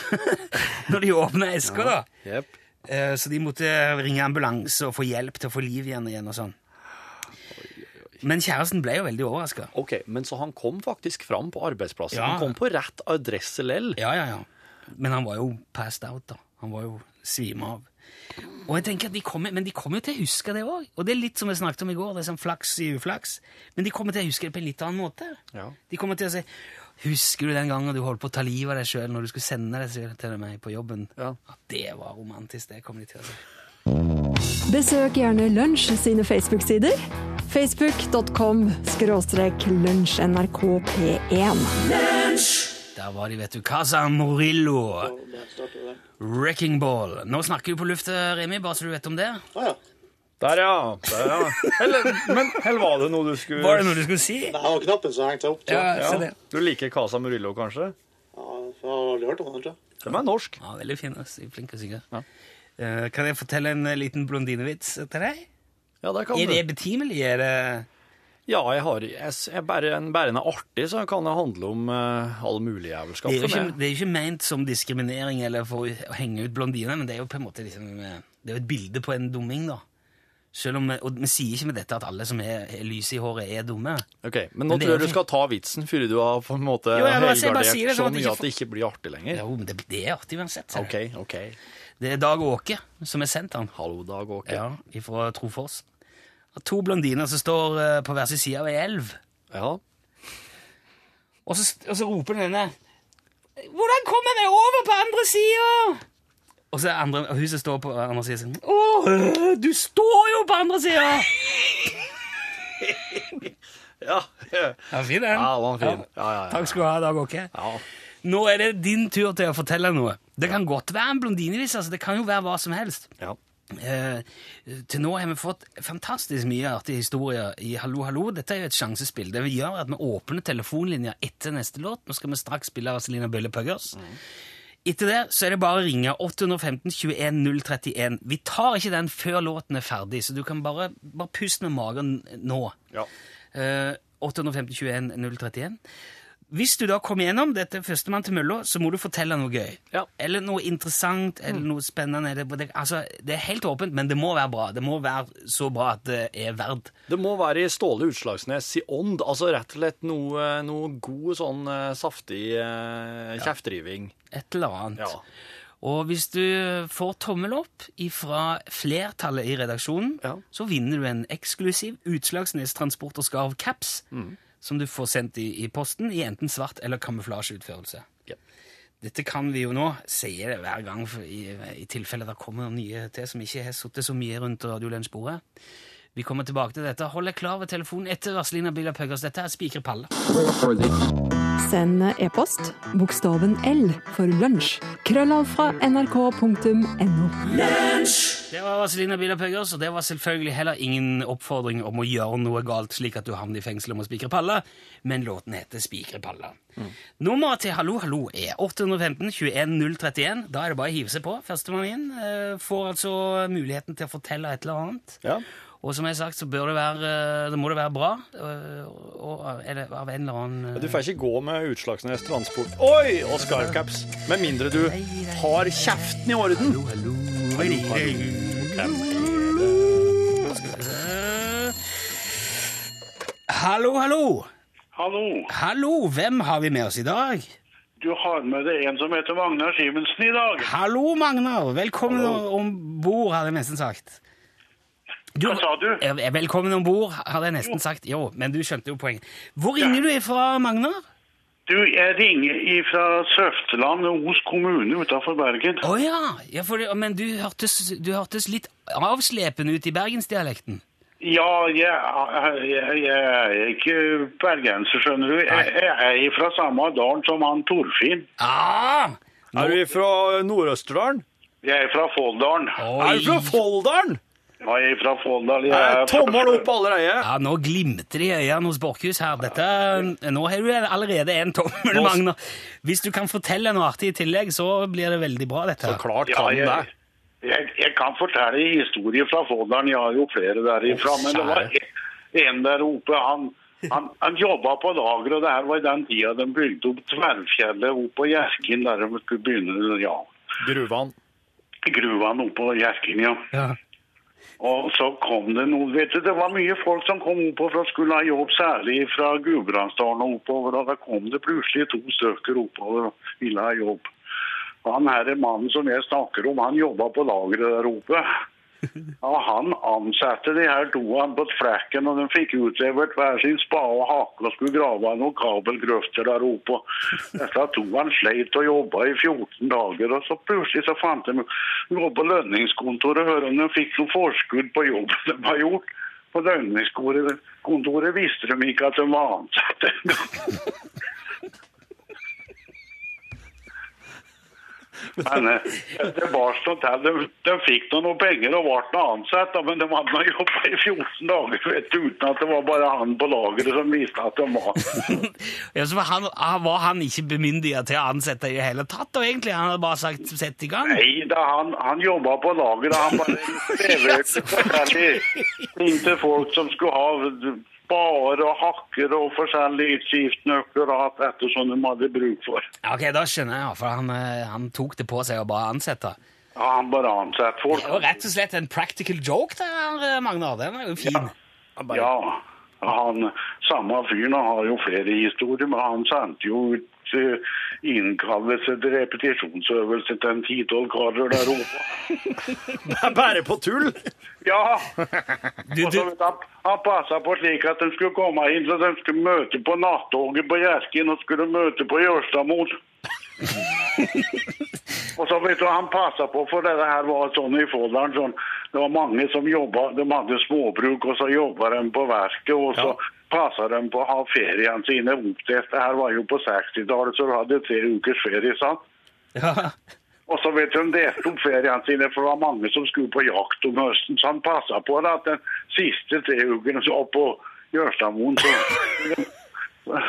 Speaker 1: når de åpna eska. da.
Speaker 4: Jepp.
Speaker 1: Eh, Så de måtte ringe ambulanse og få hjelp til å få liv igjen. igjen og sånn. Men kjæresten ble jo veldig overraska.
Speaker 4: Ok, men så han kom faktisk fram på arbeidsplassen.
Speaker 1: Ja.
Speaker 4: Han kom på rett adresse lell.
Speaker 1: Ja, ja, ja. Men han var jo passed out, da. Han var jo svima av. Og jeg tenker at de kommer, Men de kommer jo til å huske det òg. Og det er litt som vi snakket om i går, det er sånn flaks i uflaks. Men de kommer til å huske det på en litt annen måte.
Speaker 4: Ja.
Speaker 1: De kommer til å si Husker du den gangen du holdt på å ta livet av deg sjøl når du skulle sende det til meg på jobben?
Speaker 4: Ja.
Speaker 1: Det var romantisk, det kommer de til å si.
Speaker 6: Besøk gjerne Lunsj sine Facebook-sider. Facebook.com skråstrek lunsjnrkp1.
Speaker 1: Der var de, vet du. Casa Morillo.
Speaker 2: Og da starter vi der.
Speaker 1: Wrecking Ball. Nå snakker du på lufta, Remi, bare så du vet om det.
Speaker 2: Ah, ja.
Speaker 4: Der, ja. Der, ja. Eller, men eller var det noe du skulle
Speaker 1: Var det noe du skulle si?
Speaker 2: Nei, han var knappen som hengte seg opp. Så. Ja.
Speaker 1: se det.
Speaker 4: Du liker Casa Murillo, kanskje?
Speaker 2: for jeg har aldri hørt om han, tror jeg.
Speaker 4: Den er norsk.
Speaker 1: Ja, Veldig fin. ass. De er Flink å synge.
Speaker 4: Ja.
Speaker 1: Eh, kan jeg fortelle en eh, liten blondinevits til deg?
Speaker 4: Ja, der kan
Speaker 1: Er det
Speaker 4: du.
Speaker 1: betimelig? Er det
Speaker 4: Ja, jeg har jeg, s- jeg bare, en, bare den er artig, så kan det handle om eh, all mulig jævelskap.
Speaker 1: det er, jo
Speaker 4: for
Speaker 1: ikke,
Speaker 4: meg.
Speaker 1: det er jo ikke ment som diskriminering eller for å henge ut blondiner, men det er jo på en måte liksom, eh, det er jo et bilde på en dumming, da. Selv om, eh, og vi sier ikke med dette at alle som er, er lyse i håret, er dumme.
Speaker 4: Ok, Men nå
Speaker 1: Men det er
Speaker 4: tror
Speaker 1: jo
Speaker 4: jeg du
Speaker 1: ikke-
Speaker 4: skal ta vitsen, før du har på en måte
Speaker 1: Jo, jeg bare- jeg bare
Speaker 4: helgardert
Speaker 1: sier det
Speaker 4: så
Speaker 1: sånn at
Speaker 4: mye
Speaker 1: ikke
Speaker 4: at det ikke blir artig lenger.
Speaker 1: Jo, men det, det er artig uansett. ser du.
Speaker 4: Ok, ok.
Speaker 1: Det er Dag Åke som har sendt han.
Speaker 4: Hallo, Dag Åke.
Speaker 1: Ja, ifra Trofors. Og To blondiner som står eh, på hver sin side av ei elv.
Speaker 4: Ja.
Speaker 1: Og så, og så roper den ene 'Hvordan kommer vi over på andre sida?' Og så er andre, og hun som står på andre sida, sånn 'Å, øh, du står jo på andre sida!'
Speaker 4: Ja. ja.
Speaker 1: Ja, fin den.
Speaker 4: den var fin. Ja, ja, ja.
Speaker 1: Takk skal du ha, Dag Åke.
Speaker 4: ja.
Speaker 1: Nå er det din tur til å fortelle noe. Det kan godt være en blondinevits. Altså, det kan jo være hva som helst.
Speaker 4: ja.
Speaker 1: Eh, til nå har vi fått fantastisk mye artige historier i Hallo, hallo. Dette er jo et sjansespill. Det vi gjør, er at vi åpner telefonlinja etter neste låt. Nå skal vi straks spille Vazelina Bølle Puggers. Etter det så er det bare å ringe 815 21 031. Vi tar ikke den før låten er ferdig, så du kan bare, bare puste med magen nå.
Speaker 4: ja.
Speaker 1: Eh, 815 21 031. Hvis du da kommer gjennom dette er førstemann til mølla, så må du fortelle noe gøy.
Speaker 4: Ja. Mm.
Speaker 1: Eller noe interessant, eller noe spennende. Det, det, altså, det er helt åpent, men det må være bra. Det må være så bra at det er verdt.
Speaker 4: Det må være i Ståle Utslagsnes i ånd, altså rett og slett noe, noe god sånn eh, saftig eh, kjeftriving.
Speaker 1: Et eller annet.
Speaker 4: Ja.
Speaker 1: Og hvis du får tommel opp fra flertallet i redaksjonen,
Speaker 4: Ja.
Speaker 1: så vinner du en eksklusiv Utslagsnes Transport og Skarv-caps,
Speaker 4: Mm.
Speaker 1: som du får sendt i, i posten i enten svart eller kamuflasjeutførelse.
Speaker 4: Ja.
Speaker 1: Dette kan vi jo nå, sier det hver gang for i, i tilfelle det kommer noen nye til som ikke har sittet så mye rundt radiolensbordet. Vi kommer tilbake til dette. Hold deg klar ved telefonen etter Vazelina Billa Puggers. Dette er Spikre Palle.
Speaker 6: Send e-post bokstaven L for lunsj. Krøllalfra nrk.no.
Speaker 1: Det var Vazelina Billa Puggers, og det var selvfølgelig heller ingen oppfordring om å gjøre noe galt slik at du havner i fengsel om å spikre paller, men låten heter Spikre paller. Nummeret til Hallo Hallo er 815 21 031. Da er det bare å hive seg på. Førstemann inn eh, får altså muligheten til å fortelle et eller annet.
Speaker 4: Ja.
Speaker 1: Og som jeg har sagt, så bør det være, eh, det må det være bra. eh, Og, eller, av en eller annen eh,
Speaker 4: Du får ikke gå med Utslagsnes transport Oi, og skarvcaps, med mindre du har kjeften i orden.
Speaker 1: Hallo, hallo. Skal vi se. Hallo, hallo!
Speaker 7: Hallo.
Speaker 1: Hallo, hvem har vi med oss i dag?
Speaker 7: Du har med deg en som heter Magnar Simensen i dag.
Speaker 1: Hallo, Magnar! Velkommen om bord, hadde jeg nesten sagt. Du-
Speaker 7: Hva sa du?
Speaker 1: Eh, Velkommen om bord, hadde jeg nesten sagt. Jo, men du skjønte jo poenget. Hvor ringer du ifra, Magnar?
Speaker 7: Du, jeg ringer fra Søfteland, Os kommune utenfor Bergen.
Speaker 1: Å ja! ja for, det- men du hørtes, du hørtes litt avslepen ut i bergensdialekten.
Speaker 7: Ja, jeg, jeg, jeg er ikke bergenser, skjønner du. Jeg, jeg er fra samme dalen som han Torfinn.
Speaker 1: Ah!
Speaker 4: Er du fra eh, Nord-Østerdalen?
Speaker 7: Jeg er fra Folldalen.
Speaker 4: Er du fra Folldalen?
Speaker 7: Ja, jeg er fra Folldal. Jeg
Speaker 4: Eh,
Speaker 7: er
Speaker 4: Tommel
Speaker 7: første-
Speaker 4: opp allerede.
Speaker 1: Ja, nå glimter det i øynene hos Borchhus her. Dette, nå har du allerede en tommel,
Speaker 4: Nå s-
Speaker 1: Magna. Hvis du kan fortelle noe artig i tillegg, så blir det veldig bra, dette.
Speaker 4: Så
Speaker 1: her.
Speaker 4: klart
Speaker 7: Ja,
Speaker 4: kan
Speaker 7: jeg,
Speaker 4: det.
Speaker 7: jeg, jeg kan fortelle historier fra Folldalen. Jeg har jo flere derifra.
Speaker 4: Å,
Speaker 7: Men det var
Speaker 4: kjære.
Speaker 7: en- en der oppe. Han, han, han jobba på lager, og det her var i den tida de bygde opp Tverrfjellet opp på Gjerken. Der de skulle begynne ja,
Speaker 4: Gruvan.
Speaker 7: gruvene oppe på Gjerken, ja.
Speaker 1: Ja.
Speaker 7: Og så kom det noen, vet du, det var mye folk som kom oppover og skulle ha jobb, særlig fra Gudbrandsdalen og oppover, og da kom det plutselig to stykker oppover og ville ha jobb. Og han her mannen som jeg snakker om, han jobba på lageret der oppe. Og han ansatte de her toene på flekken, og de fikk utlevert hver sin spade og hake og skulle grave noen kabelgrøfter der oppe. Og Disse toene sleit og jobba i 14 dager, og så plutselig så fant de gå på lønningskontoret og høre om de fikk noe forskudd på jobben de har gjort. På lønningskontoret kontoret visste de ikke at de var ansatt engang. Men eh, det var sånn at de, de fikk da noen penger og ble noe ansatt, da, men de hadde nå jobba i 14 dager vet du, uten at det var bare han på lageret som visste at de var
Speaker 1: Ja, så var han, ah, var han ikke bemyndiget til å ansette i det hele tatt, og egentlig? Han hadde bare sagt 'sett i gang'?
Speaker 7: Nei da, han, han jobba på lageret. Han bare leverte forskjellige ting til folk som skulle ha barer og hakker og forskjellige utgiftsnøkler og alt dette som de hadde bruk for.
Speaker 1: Ok, da skjønner jeg, for han, eh, han tok det på seg å bare ansette.
Speaker 7: Ja, han bare ansatte folk.
Speaker 1: Det var rett og slett en practical joke, det der, Magna. Den var jo fin.
Speaker 7: Ja, han, Samme fyren han har jo flere historier, men han sendte jo ut eh, innkallelse til repetisjonsøvelse til en ti-tolv karer der oppe.
Speaker 4: Bare på tull.
Speaker 7: Ja!
Speaker 1: Du,
Speaker 7: Og
Speaker 1: du,
Speaker 7: så vet han, han passa på slik at de skulle komme inn, så de skulle møte på nattoget på Gjerken og skulle møte på Jørstadmoen. og så vet du, Han passa på, for det her var sånn i Folldalen sånn, Det var mange som jobba, de hadde småbruk, og så jobba de på verket. Og så passa de på å ha feriene sine opp til Dette her var jo på 60-tallet, så du hadde tre ukers ferie. sant?
Speaker 1: ja.
Speaker 7: Og så vet du, de delte opp feriene sine, for det var mange som skulle på jakt om høsten. Så han passa på det at den siste tre ukene så opp på Jørstadmoen så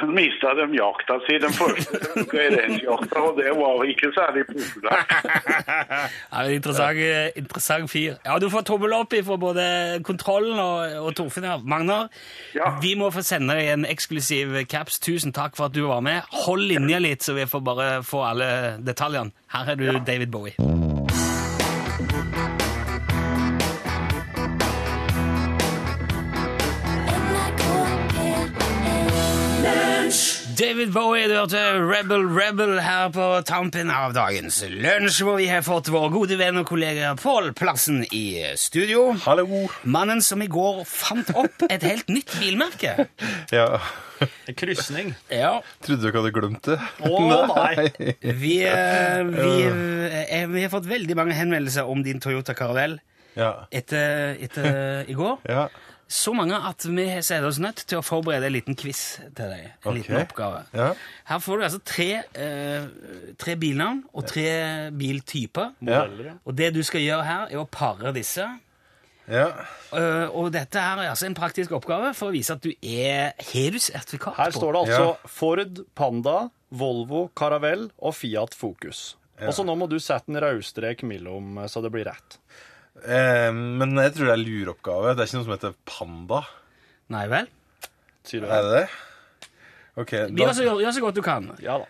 Speaker 7: mista de jakta si. Den første uka i reinsjakta, og det var ikke særlig populært.
Speaker 1: Ja, det er en interessant, eh, interessant fyr. Ja, du får tommel opp fra både Kontrollen og, og Torfinn her. Magnar,
Speaker 7: Ja.
Speaker 1: vi må få sende deg en eksklusiv caps. Tusen takk for at du var med. Hold linja litt, så vi får bare få alle detaljene. Her er du David Bowie. David Bowie, du hørte Rebel Rebel her på tampen av dagens lunsj, hvor vi har fått vår gode venn og kollega Pål Plassen i studio.
Speaker 8: Hallo.
Speaker 1: Mannen som i går fant opp et helt nytt bilmerke.
Speaker 8: Ja,
Speaker 4: Krysning.
Speaker 1: Ja,
Speaker 8: trodde du ikke hadde glemt det?
Speaker 4: Å, nei.
Speaker 1: vi, eh, vi, eh, vi har fått veldig mange henvendelser om din Toyota Caravelle
Speaker 8: Ja.
Speaker 1: etter, etter i går.
Speaker 8: ja.
Speaker 1: Så mange at vi har sett oss nødt til å forberede en liten quiz til deg. En
Speaker 8: Ok.
Speaker 1: liten oppgave.
Speaker 8: Ja.
Speaker 1: Her får du altså tre, eh, tre bilnavn og tre biltyper.
Speaker 8: Ja.
Speaker 1: Og det du skal gjøre her, er å pare disse.
Speaker 8: ja.
Speaker 1: Eh, og dette her er altså en praktisk oppgave for å vise at du er Har du sertifikat
Speaker 4: Her
Speaker 1: på?
Speaker 4: står det altså Ford, Panda, Volvo, Caravelle og Fiat Focus. Og så nå må du sette en rødstrek mellom, så det blir rett.
Speaker 8: Eh, men jeg tror det er lureoppgave. Det er ikke noe som heter panda.
Speaker 1: Nei vel?
Speaker 4: Sier du
Speaker 8: Er det
Speaker 4: det?
Speaker 8: det? OK.
Speaker 1: Gjør så, gjør så godt du kan.
Speaker 4: Ja da.
Speaker 1: Og,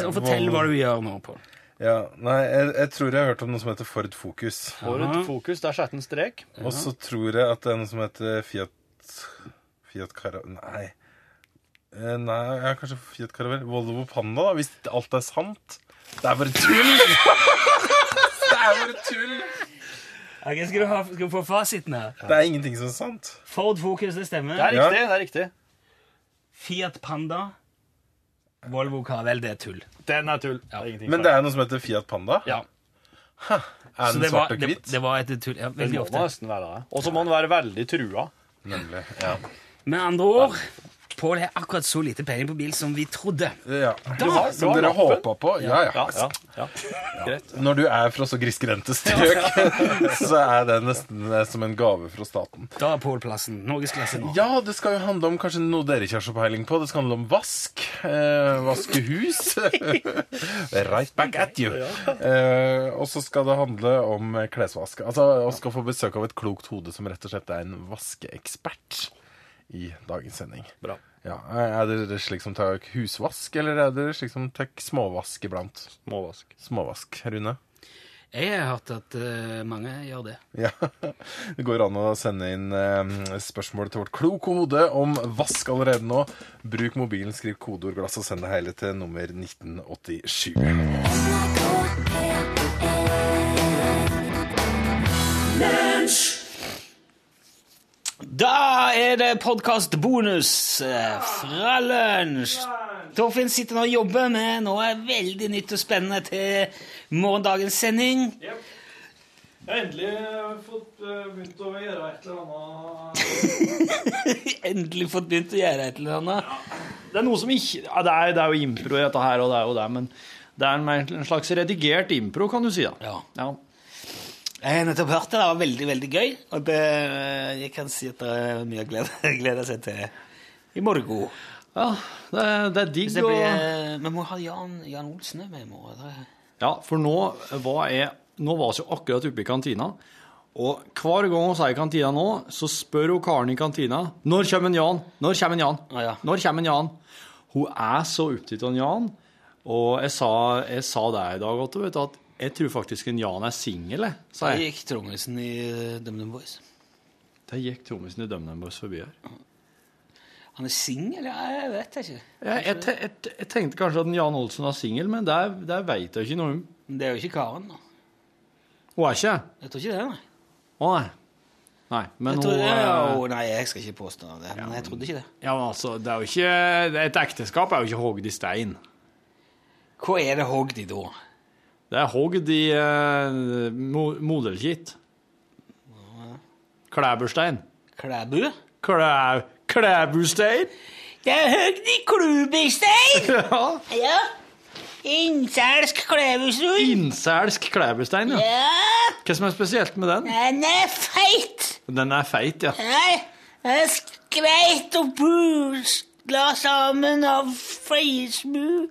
Speaker 8: eh,
Speaker 1: og fortell hva
Speaker 8: Volvo-
Speaker 1: du gjør nå. på.
Speaker 8: ja. Nei, jeg, jeg tror jeg har hørt om noe som heter Ford Focus.
Speaker 4: Ford Focus, der setter en strek.
Speaker 8: Og så tror jeg at det er noe som heter Fiat Fiat Cara... Nei. Eh, Nei, ja, kanskje Fiat Caravelle. Volvo Panda, da, hvis alt er sant. Det er bare tull! Det er bare tull!
Speaker 1: Ok, skal, du ha, skal du få fasiten her?
Speaker 8: Det er ingenting som er sant.
Speaker 1: Ford Focus, det stemmer.
Speaker 4: Det er riktig. det er riktig.
Speaker 1: Fiat Panda. Volvo Caravelle, det er tull.
Speaker 4: Den er tull.
Speaker 1: Ja.
Speaker 4: Det er ingenting
Speaker 8: Men det er noe som heter Fiat Panda.
Speaker 1: Ja.
Speaker 8: Er
Speaker 1: Så
Speaker 8: den
Speaker 1: det var,
Speaker 8: svart og
Speaker 1: det,
Speaker 8: hvit?
Speaker 1: det var et tull. Ja,
Speaker 4: Den
Speaker 1: veldig
Speaker 4: må
Speaker 1: ofte.
Speaker 4: nesten være det. Og så må den være veldig trua.
Speaker 8: Nemlig. Ja.
Speaker 1: Med andre ord, Pål har akkurat så lite peiling på bil som vi trodde.
Speaker 8: ja.
Speaker 4: Du har- du
Speaker 8: som
Speaker 4: har
Speaker 8: dere
Speaker 4: lappen.
Speaker 8: håpa på? Ja, ja.
Speaker 4: Ja, ja, ja. Greit.
Speaker 8: Når du er fra så grisgrendte strøk, så er det nesten eh, som en gave fra staten.
Speaker 1: Da er Pål plassen. Norgesklasse nå.
Speaker 8: Ja, det skal jo handle om kanskje noe dere ikke har så peiling på. Det skal handle om vask. Eh, vaske hus. right back at you. Eh, og så skal det handle om eh, klesvask. Altså, Vi skal få besøk av et klokt hode som rett og slett er en vaskeekspert i dagens sending.
Speaker 4: Bra.
Speaker 8: Ja, Er dere slik som tar husvask, eller er dere slik som tar småvask iblant?
Speaker 4: Småvask.
Speaker 8: Småvask, Rune?
Speaker 1: Jeg har hørt at eh, mange gjør det.
Speaker 8: Ja. Det går an å sende inn eh, spørsmål til vårt kloke hode om vask allerede nå. Bruk mobilen, skriv kodeord glass og send det hele til nummer 1987.
Speaker 1: Da er det podkastbonus eh, fra lunsj. Torfinn sitter nå og jobber med noe veldig nytt og spennende til morgendagens sending.
Speaker 4: Jeg har endelig eh, fått begynt å gjøre et eller annet
Speaker 1: Endelig fått begynt å gjøre et eller annet.
Speaker 4: Det er noe som ikke ja, det, er, det er jo impro i dette her, og det er jo det, men det er en, mer- en slags redigert impro, kan du si. da.
Speaker 1: Ja.
Speaker 4: ja.
Speaker 1: Jeg har nettopp hørt det. Det var veldig, veldig gøy. Og det, eh, jeg kan si at det er mye å glede, glede seg til i morgen.
Speaker 4: Ja, det, er- det er digg
Speaker 1: Hvis det
Speaker 4: å-
Speaker 1: blir, eh, vi må ha Jan, Jan Olsen med i morgen. Det-
Speaker 4: Ja, for nå var jeg Nå var vi jo akkurat oppe i kantina. Og hver gang vi er i kantina nå, så spør hun karen i kantina Når kommer en Jan? Når kommer en Jan?
Speaker 1: Ah, ja.
Speaker 4: Når kommer en Jan? Hun er så opptatt av en Jan. Og jeg sa, jeg sa det i dag, Otto, vet du, at jeg tror faktisk en Jan er singel, jeg, sa
Speaker 1: Da
Speaker 4: jeg.
Speaker 1: gikk trommisen i eh, DumDum Boys.
Speaker 4: Der gikk trommisen i DumDum Boys forbi her.
Speaker 1: Han er singel? Ja, jeg vet ikke.
Speaker 4: Jeg, jeg, te- jeg, te- jeg tenkte kanskje at en Jan Olsen var singel, men det, det veit jeg ikke noe om.
Speaker 1: Men det er jo ikke Karen, da.
Speaker 4: Hun er ikke
Speaker 1: Jeg tror ikke det, nei.
Speaker 4: Å, nei. Nei, men
Speaker 1: Jeg
Speaker 4: hun
Speaker 1: trodde,
Speaker 4: eh,
Speaker 1: Å, nei, jeg skal ikke påstå det, men jeg trodde ikke det.
Speaker 4: Ja, men altså, det er jo ikke, Et ekteskap er jo ikke hogd i stein.
Speaker 1: Hva er det hogd i da?
Speaker 4: Det er hogd i uh, modelkitt. Klæburstein.
Speaker 1: Klæbu?
Speaker 4: Klæ, klæburstein?
Speaker 5: Det er høgd i klubberstein!
Speaker 4: Ja.
Speaker 5: Ja. Innselsk klebesrund.
Speaker 4: Innselsk klæburstein, ja.
Speaker 5: Ja.
Speaker 4: Hva som er spesielt med den?
Speaker 5: Den er feit.
Speaker 4: Den er feit, ja.
Speaker 5: Nei, den er skveit og pusla sammen av feismu.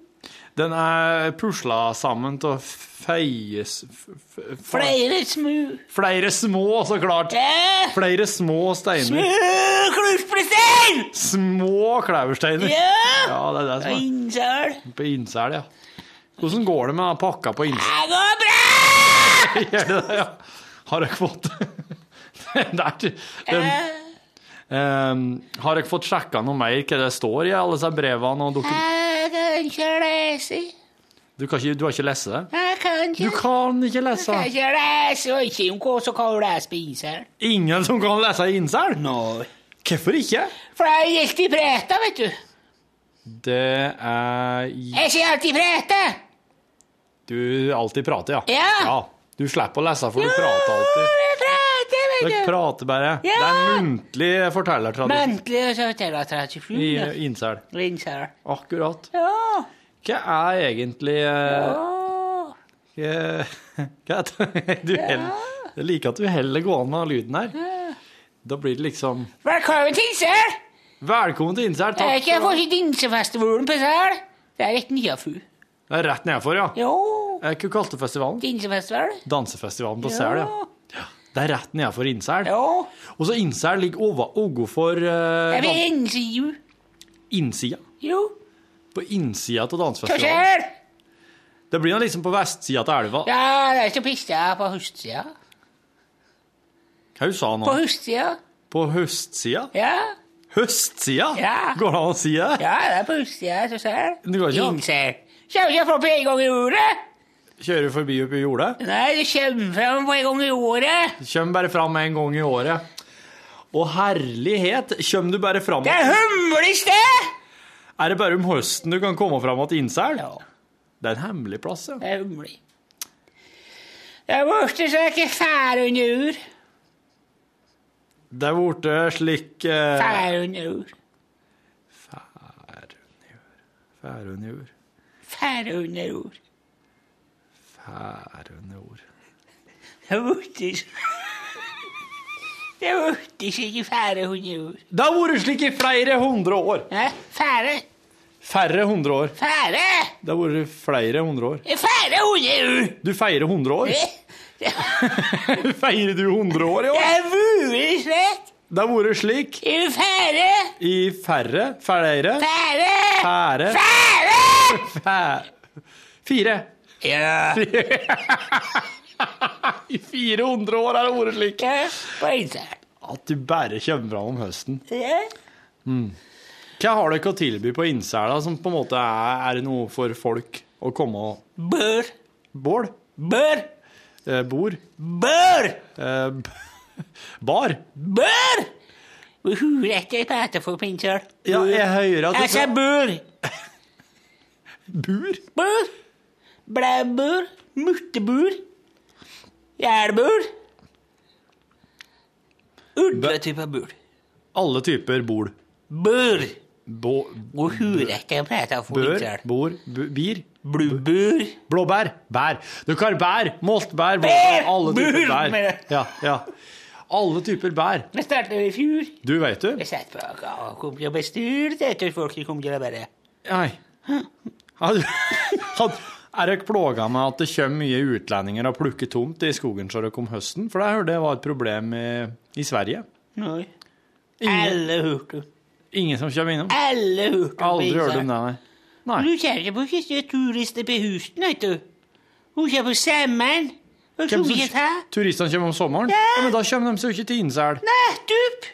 Speaker 4: Den er pusla sammen av feies... f- f-
Speaker 5: Flere smu.
Speaker 4: Flere små, så klart.
Speaker 5: Ja.
Speaker 4: Flere små steiner.
Speaker 5: Øh, Klubberstein!
Speaker 4: Små klæbursteiner.
Speaker 5: Ja.
Speaker 4: Ja, det er det som er
Speaker 5: Innsel.
Speaker 4: På innsel, ja. Hvordan går det med pakka på innsel?
Speaker 5: Det går bra!
Speaker 4: Gjør det det, ja? Har dere fått Det er til- den- Ehm, Har dere fått sjekka noe mer hva det står i alle disse brevene? Og dokum-
Speaker 5: Jeg kan ikke lese.
Speaker 4: du, kan ikke, du har ikke lest det?
Speaker 5: Jeg kan
Speaker 4: Du
Speaker 5: ikke
Speaker 4: kan ikke
Speaker 5: Jeg
Speaker 4: lese!
Speaker 5: kan ikke lese, og ikke om hva som kan lese på innsel.
Speaker 4: Ingen som kan lese innsel? Hvorfor ikke?
Speaker 5: For jeg er helt i preta, vet du.
Speaker 4: Det er i-
Speaker 5: Jeg sier alltid prete!
Speaker 4: Du alltid prater, ja.
Speaker 5: Ja.
Speaker 4: Du slipper å lese, for du prater alltid.
Speaker 5: Jeg prater,
Speaker 4: Dere
Speaker 5: vet du.
Speaker 4: prater bare. Det er
Speaker 5: Ja.
Speaker 4: en muntlig fortellertradisjon
Speaker 5: Muntlig og så til 37.
Speaker 4: i
Speaker 5: ja.
Speaker 4: innsel.
Speaker 5: Innsel.
Speaker 4: Akkurat.
Speaker 5: Ja.
Speaker 4: Hva er egentlig eh, hva- Hva er det? Du hell- Jeg liker at du heller går an med lyden her. Da blir det liksom
Speaker 5: Velkommen til innsel!
Speaker 4: Velkommen til Insert,
Speaker 5: Jeg er
Speaker 4: takk.
Speaker 5: ikke på dinsefestivalen på Sel. Det er rett niafu.
Speaker 4: Det er rett nedfor, ja.
Speaker 5: Jo,
Speaker 4: Eh, Hva kalte du festivalen?
Speaker 5: dinsefestival.
Speaker 4: Dansefestivalen på Sel, ja. Det er rett nedfor Insel.
Speaker 5: Jo.
Speaker 4: Og så Insel ligger over over for eh, sånn
Speaker 5: Jeg vil innsiju.
Speaker 4: innsida.
Speaker 5: Jo.
Speaker 4: På innsida av
Speaker 5: På
Speaker 4: dansefestivalen.
Speaker 5: Sel.
Speaker 4: Det blir nå liksom på vestsida av elva.
Speaker 5: Ja, det er ikke pissa på høstsida.
Speaker 4: Hva hun sa
Speaker 5: På
Speaker 4: nå?
Speaker 5: høstsida.
Speaker 4: På høstsida?
Speaker 5: Ja.
Speaker 4: Høstsida?
Speaker 5: Ja.
Speaker 4: Går det an å si det?
Speaker 5: ja, det er på høstsida så Sel.
Speaker 4: Du kan ikke-
Speaker 5: Innsel. Kjem ikke fram på en gang i året.
Speaker 4: Kjører forbi oppe i jordet?
Speaker 5: Nei, det kommer fram på en gang i året.
Speaker 4: Kjøm bare fram en gang i året. Å herlighet, kjøm du bare fram
Speaker 5: Det er humlested.
Speaker 4: Er det bare om høsten du kan komme fram til incel? Det er en hemmelig plass, ja.
Speaker 5: Det er hemmelig. Det er borte så jeg ikke fær under ur.
Speaker 4: Det er borte slik eh,
Speaker 5: Fær under ur.
Speaker 4: Færunjur Færunjur
Speaker 5: Fær under ur.
Speaker 4: Færunjur
Speaker 5: Det er borte så Det er borte så ikke fære under ur.
Speaker 4: Det har vært slik i flere hundre år.
Speaker 5: Hæ? Fære?
Speaker 4: Færre hundre år.
Speaker 5: Fære?
Speaker 4: Det har vært flere hundre år.
Speaker 5: Fære under ur!
Speaker 4: Du feirer 100 år? Feirer du 100 år i år?
Speaker 5: Det er mulig slett.
Speaker 4: Det har vært slik
Speaker 5: Er du fære?
Speaker 4: i færre, flere,
Speaker 5: Fære?
Speaker 4: fære,
Speaker 5: Fære?
Speaker 4: fæ... Fire.
Speaker 5: Ja.
Speaker 4: I 400 år har det vært slik.
Speaker 5: Ja, bare
Speaker 4: At du bare kommer fram om høsten.
Speaker 5: Ja.
Speaker 4: Hva har dere å tilby på Innsela som på en måte er, er det noe for folk å komme og
Speaker 5: Bør.
Speaker 4: Bål?
Speaker 5: Bør.
Speaker 4: Eh, bord?
Speaker 5: Bør.
Speaker 4: Eh, b- bar?
Speaker 5: Bør! Hvor hulete jeg prater for meg selv.
Speaker 4: Ja, jeg hører at
Speaker 5: Jeg
Speaker 4: du
Speaker 5: sa bør.
Speaker 4: Bur?
Speaker 5: Bør. Blæbør. Muttebur. Jælbur. Ulvetype bur.
Speaker 4: Alle typer bol.
Speaker 5: Bør.
Speaker 4: Bå...
Speaker 5: Hvor hulete jeg prater for meg
Speaker 4: Bør?
Speaker 5: selv.
Speaker 4: Bor? Bu, bir?
Speaker 5: Bluebur.
Speaker 4: Blåbær? Bær. Du kan bær, moltbær, blåbær,
Speaker 5: Bær!
Speaker 4: alle typer
Speaker 5: Bur, mener
Speaker 4: bær.
Speaker 5: jeg.
Speaker 4: Ja, ja. Alle typer bær.
Speaker 5: Vi startet i fjor.
Speaker 4: Du veit du?
Speaker 5: Vi satt bak og kom til å bestyre det til folk som kom til å bare
Speaker 4: Nei. Har du- har- Er dere plaga med at det kommer mye utlendinger og plukker tomt i skogen så dere om høsten? For det hørte jeg var et problem i, i Sverige.
Speaker 5: Nei.
Speaker 4: Ingen,
Speaker 5: Alle hørte om
Speaker 4: ingen som kommer innom.
Speaker 5: Alle hørte om
Speaker 4: Aldri hørt
Speaker 5: Island.
Speaker 4: om det, nei.
Speaker 5: Du
Speaker 4: Nei.
Speaker 5: kjenner på ikke turister på husene, vet du. Hun kommer på sommeren. Og så
Speaker 4: Hvem som-
Speaker 5: vet jeg
Speaker 4: Turistene kommer om sommeren?
Speaker 5: Ja.
Speaker 4: Ja, men da kommer de seg jo ikke til Innsel.
Speaker 5: Nettopp!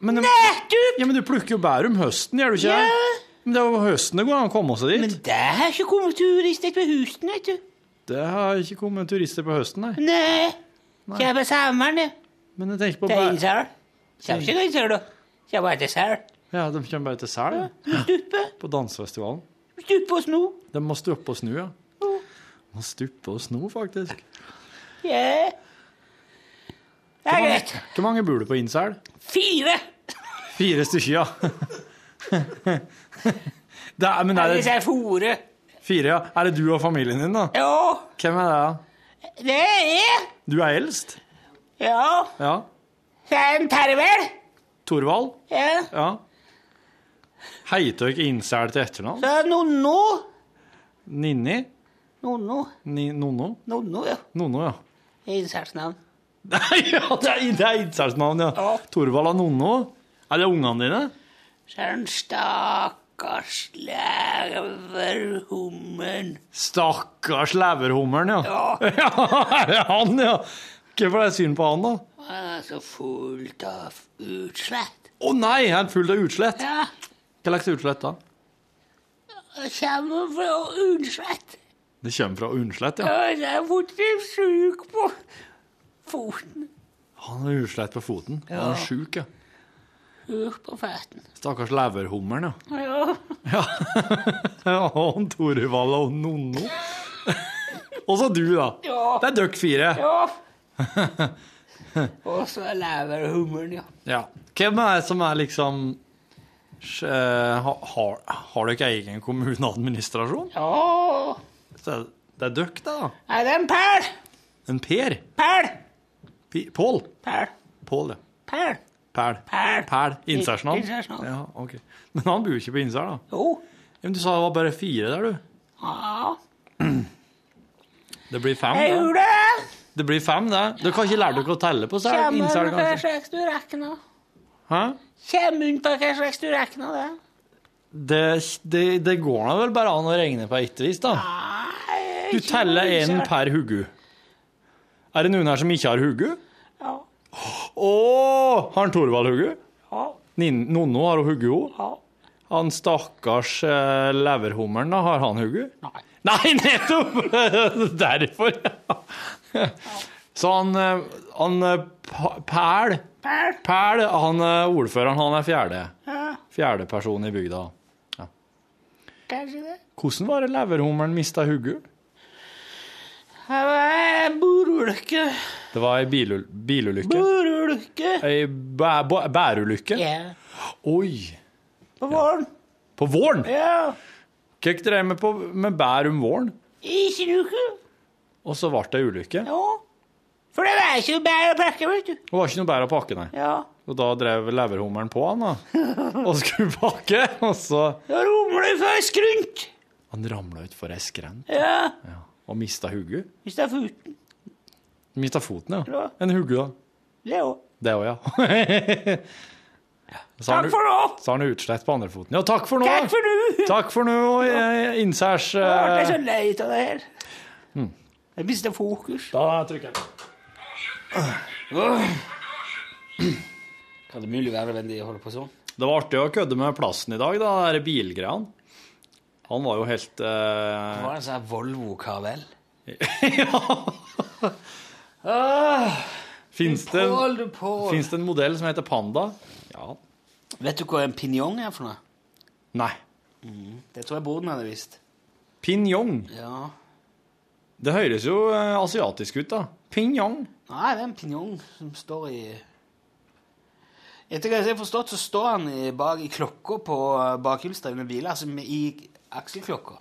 Speaker 4: Men, de-
Speaker 5: Nettopp!
Speaker 4: ja, men du plukker jo bær om høsten, gjør du ikke? det?
Speaker 5: Ja.
Speaker 4: Men det er jo høsten det går an å komme seg dit.
Speaker 5: Men det har ikke kommet turister på husene, vet du.
Speaker 4: Det har ikke kommet turister på høsten, nei.
Speaker 5: Nei. Kommer på sommeren, det.
Speaker 4: Men jeg tenker på
Speaker 5: Det er
Speaker 4: bær.
Speaker 5: Innsel. Kommer ikke til Innsel, da. Kommer bare til Sel.
Speaker 4: Ja, de kommer bare til Sel,
Speaker 5: Stupe.
Speaker 4: på dansefestivalen.
Speaker 5: Stupe og sno.
Speaker 4: De må stuppe og snu, ja. Må stuppe og snu, faktisk.
Speaker 5: Ja. Det er greit.
Speaker 4: Hvor mange bor det på Innsel?
Speaker 5: Fire.
Speaker 4: Fire stykker, ja. Det er, men er
Speaker 5: Alle
Speaker 4: det
Speaker 5: disse er fore.
Speaker 4: fire, ja. Er det du og familien din, da?
Speaker 5: Ja,
Speaker 4: Hvem er det, da?
Speaker 5: det er
Speaker 4: Du er eldst?
Speaker 5: Ja.
Speaker 4: Ja.
Speaker 5: Det er en tervel.
Speaker 4: Torvald?
Speaker 5: Ja.
Speaker 4: Ja. Heiter dere Innsel til etternavn?
Speaker 5: Det er nonno.
Speaker 4: Ninni?
Speaker 5: Nonno.
Speaker 4: Ni, Nonno?
Speaker 5: Nonno, ja.
Speaker 4: Nonno, ja.
Speaker 5: Innsatsnavn.
Speaker 4: Nei, ja, det er, det er innsatsnavn, ja.
Speaker 5: Ja.
Speaker 4: Torvald og Nonno. Er det ungene dine?
Speaker 5: Så er den stakkars leverhummen.
Speaker 4: Stakkars leverhummeren, ja.
Speaker 5: Ja,
Speaker 4: Ja, er det han, ja? Hvorfor er det synd på han, da?
Speaker 5: han er så Altså, fullt av utslett.
Speaker 4: Å nei, han er full av utslett.
Speaker 5: Ja,
Speaker 4: Hva slags utslett da?
Speaker 5: det kommer fra utslett.
Speaker 4: Det kommer fra Undslett, ja.
Speaker 5: Ja, det er vondt i syk på foten.
Speaker 4: Han har utslett på foten. Han er sjuk, ja.
Speaker 5: Syk på foten.
Speaker 4: Stakkars leverhummeren, ja.
Speaker 5: Ja,
Speaker 4: Ja, ja og Torvald og Nonno. Og så du, da.
Speaker 5: Ja.
Speaker 4: Det er dere fire.
Speaker 5: ja. Og så er leverhummen, ja.
Speaker 4: Ja. Hvem er det som er liksom sj- eh, ha- Har, har dere egen kommuneadministrasjon?
Speaker 5: Ja,
Speaker 4: Så er- Det er dere, da.
Speaker 5: er det en perl?
Speaker 4: En Per.
Speaker 5: Perl,
Speaker 4: Pi- Pål.
Speaker 5: perl,
Speaker 4: Pål, ja.
Speaker 5: perl.
Speaker 4: Pæl.
Speaker 5: Pæl.
Speaker 4: Pæl.
Speaker 5: Innsærsnavn.
Speaker 4: Innsærsnavn. Ja, ok. Men han bor jo ikke på Innsær, da.
Speaker 5: Jo,
Speaker 4: Ja, men du sa det var bare fire der, du.
Speaker 5: ja.
Speaker 4: Det blir fem,
Speaker 5: Jeg
Speaker 4: det.
Speaker 5: gjorde det.
Speaker 4: Det blir fem, det. Dere har ikke lært dere å telle på seg?
Speaker 5: Kjem hun på
Speaker 4: Innsær,
Speaker 5: hva
Speaker 4: kanskje?
Speaker 5: slags du rekna?
Speaker 4: Hæ?
Speaker 5: Kjem hun på hva slags du rekna det?
Speaker 4: Det, det, det går da vel bare an å regne på ett vis, da.
Speaker 5: Nei,
Speaker 4: Du
Speaker 5: ikke
Speaker 4: teller
Speaker 5: noe
Speaker 4: én
Speaker 5: sær-
Speaker 4: per huggu. Er det noen her som ikke har huggu?
Speaker 5: Ja.
Speaker 4: Åh, har han Torvald hugge?
Speaker 5: Ja.
Speaker 4: Nin- Nonno har hun hugge
Speaker 5: Ja.
Speaker 4: henne. Han stakkars eh, leverhummeren, da, har han hugge?
Speaker 5: Nei.
Speaker 4: Nei, nettopp! Derfor, ja. Så han, eh, han eh, Pa- Pæl,
Speaker 5: Per.
Speaker 4: Pæl, han eh, ordføreren, han er fjerde.
Speaker 5: Ja.
Speaker 4: Fjerdeperson i bygda.
Speaker 5: kanskje det.
Speaker 4: Hvordan var det leverhummeren mista hodet?
Speaker 5: Det var en borulykke.
Speaker 4: Det var ei bilul- bilulykke.
Speaker 5: Borulykke.
Speaker 4: Ei bæ bæ bærulykke.
Speaker 5: Ja.
Speaker 4: Oi!
Speaker 5: På våren.
Speaker 4: På våren?
Speaker 5: Ja.
Speaker 4: Hva drev vi på med bær om våren?
Speaker 5: Ikke noe.
Speaker 4: Og så ble det ei ulykke.
Speaker 5: Ja. For det var ikke bare å pakke, vet du.
Speaker 4: Det var ikke noe bær å pakke, nei.
Speaker 5: Ja.
Speaker 4: Og da drev leverhummeren på han, da. Og skulle pakke. Og så
Speaker 5: Da rumler det for skrunt.
Speaker 4: Han ramla utfor ei skrent
Speaker 5: Ja.
Speaker 4: ja. og mista hodet.
Speaker 5: Hvis det er futen.
Speaker 4: Mista foten, ja.
Speaker 5: Ja.
Speaker 4: En hugge, da.
Speaker 5: Det òg.
Speaker 4: Det òg, ja. Så har
Speaker 5: Takk
Speaker 4: han-
Speaker 5: for nå.
Speaker 4: Så har han utslett på andrefoten. Ja, takk for nå!
Speaker 5: Takk for nå.
Speaker 4: Takk for nå, og, eh, innsærs
Speaker 5: Jeg ble så
Speaker 4: eh,
Speaker 5: lei av det her. Jeg mistet fokus.
Speaker 4: Da trykker jeg.
Speaker 1: Kan det mulig være hvem de holder på sånn?
Speaker 4: Det var artig å kødde med plassen i dag, da, den der bilgreiene. Han var jo helt eh,
Speaker 1: Det var en sånn her Volvo-karvel.
Speaker 4: Fins det, en-
Speaker 1: Ah. Hold du på!
Speaker 4: finnes det en modell som heter Panda? Ja.
Speaker 1: Vet du hva en pinjong er for noe?
Speaker 4: Nei.
Speaker 1: Det tror jeg broren hadde visst.
Speaker 4: Pinjong.
Speaker 1: Ja.
Speaker 4: Det høres jo eh, asiatisk ut, da. Pinjong.
Speaker 1: Nei, det er en pinjong som står i Etter hva jeg har forstått, så står han i, bak i klokka på bakhjulsdrevne biler. Altså med, i akselklokka.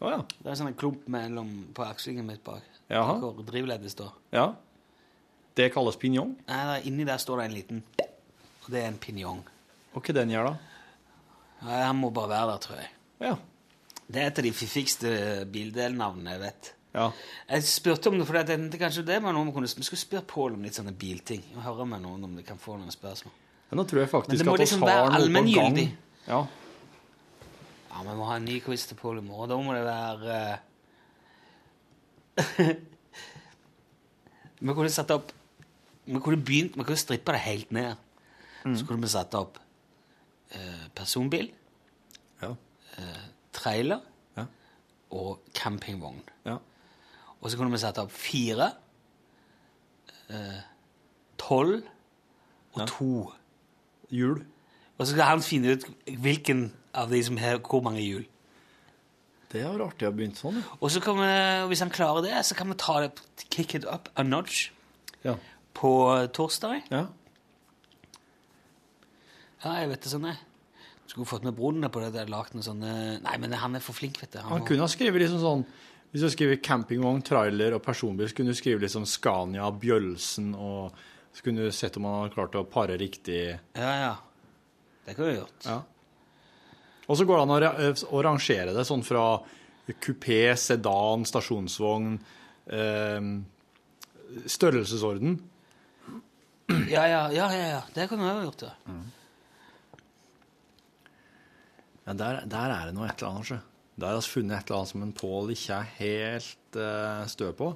Speaker 4: Å ja.
Speaker 1: Det er sånn en klump mellom, på akslingen mitt bak.
Speaker 4: Jaha.
Speaker 1: Hvor drivleddet står.
Speaker 4: ja. Det kalles pinjong.
Speaker 1: Nei, der, inni der står det en liten Og det er en pinjong.
Speaker 4: Og hva den gjør, da?
Speaker 1: Nei, han må bare være der, tror jeg.
Speaker 4: Ja.
Speaker 1: Det er et av de fiffigste bildelnavnene jeg vet.
Speaker 4: ja.
Speaker 1: Jeg spurte om det, for jeg tenkte kanskje det var noe vi kunne Vi skulle spørre Pål om litt sånne bilting. Og høre med noen om de kan få noen spørsmål.
Speaker 4: Men da tror
Speaker 1: Men det
Speaker 4: jeg faktisk
Speaker 1: må
Speaker 4: at oss
Speaker 1: liksom være
Speaker 4: har noe på gang.
Speaker 1: allmenngyldig.
Speaker 4: Ja.
Speaker 1: Ja, vi må ha en ny quiz til Pål i morgen. Da må det være eh, Vi kunne satt opp Vi kunne begynt, vi kunne strippa det helt ned. Så kunne vi satt opp eh, personbil,
Speaker 4: Ja.
Speaker 1: trailer
Speaker 4: Ja.
Speaker 1: og campingvogn.
Speaker 4: Ja.
Speaker 1: Og så kunne vi satt opp fire, eh, tolv og to.
Speaker 4: Jul.
Speaker 1: Og så skal han finne ut hvilken av de som har hvor mange hjul.
Speaker 4: Det har vært artig å ha begynt sånn,
Speaker 1: Og så kan vi, og hvis han klarer det, så kan vi ta det kick it up a notch
Speaker 4: ja.
Speaker 1: på torsdag.
Speaker 4: ja.
Speaker 1: Ja, jeg vet det sånn, jeg. Skulle fått med broren på det der, lagt noen sånne Nei, men han er for flink, vet du. Han,
Speaker 4: Han
Speaker 1: må-
Speaker 4: kunne ha skrevet liksom sånn Hvis du skriver campingvogn, trailer og personbil, så kunne du skrive liksom Scania, Bjølsen og Så kunne du sett om han hadde klart å pare riktig.
Speaker 1: Ja, ja. Det kunne vi gjort.
Speaker 4: Ja. Og så går det an å, ra- eh, å rangere det sånn fra kupé, sedan, stasjonsvogn eh, Størrelsesorden.
Speaker 1: Ja, ja, ja. ja, ja. Det kunne vi ha gjort, ja.
Speaker 4: Ja, der, der er det noe et eller annet, sjø. Der har vi funnet et eller annet som en Pål ikke er helt eh, stø på.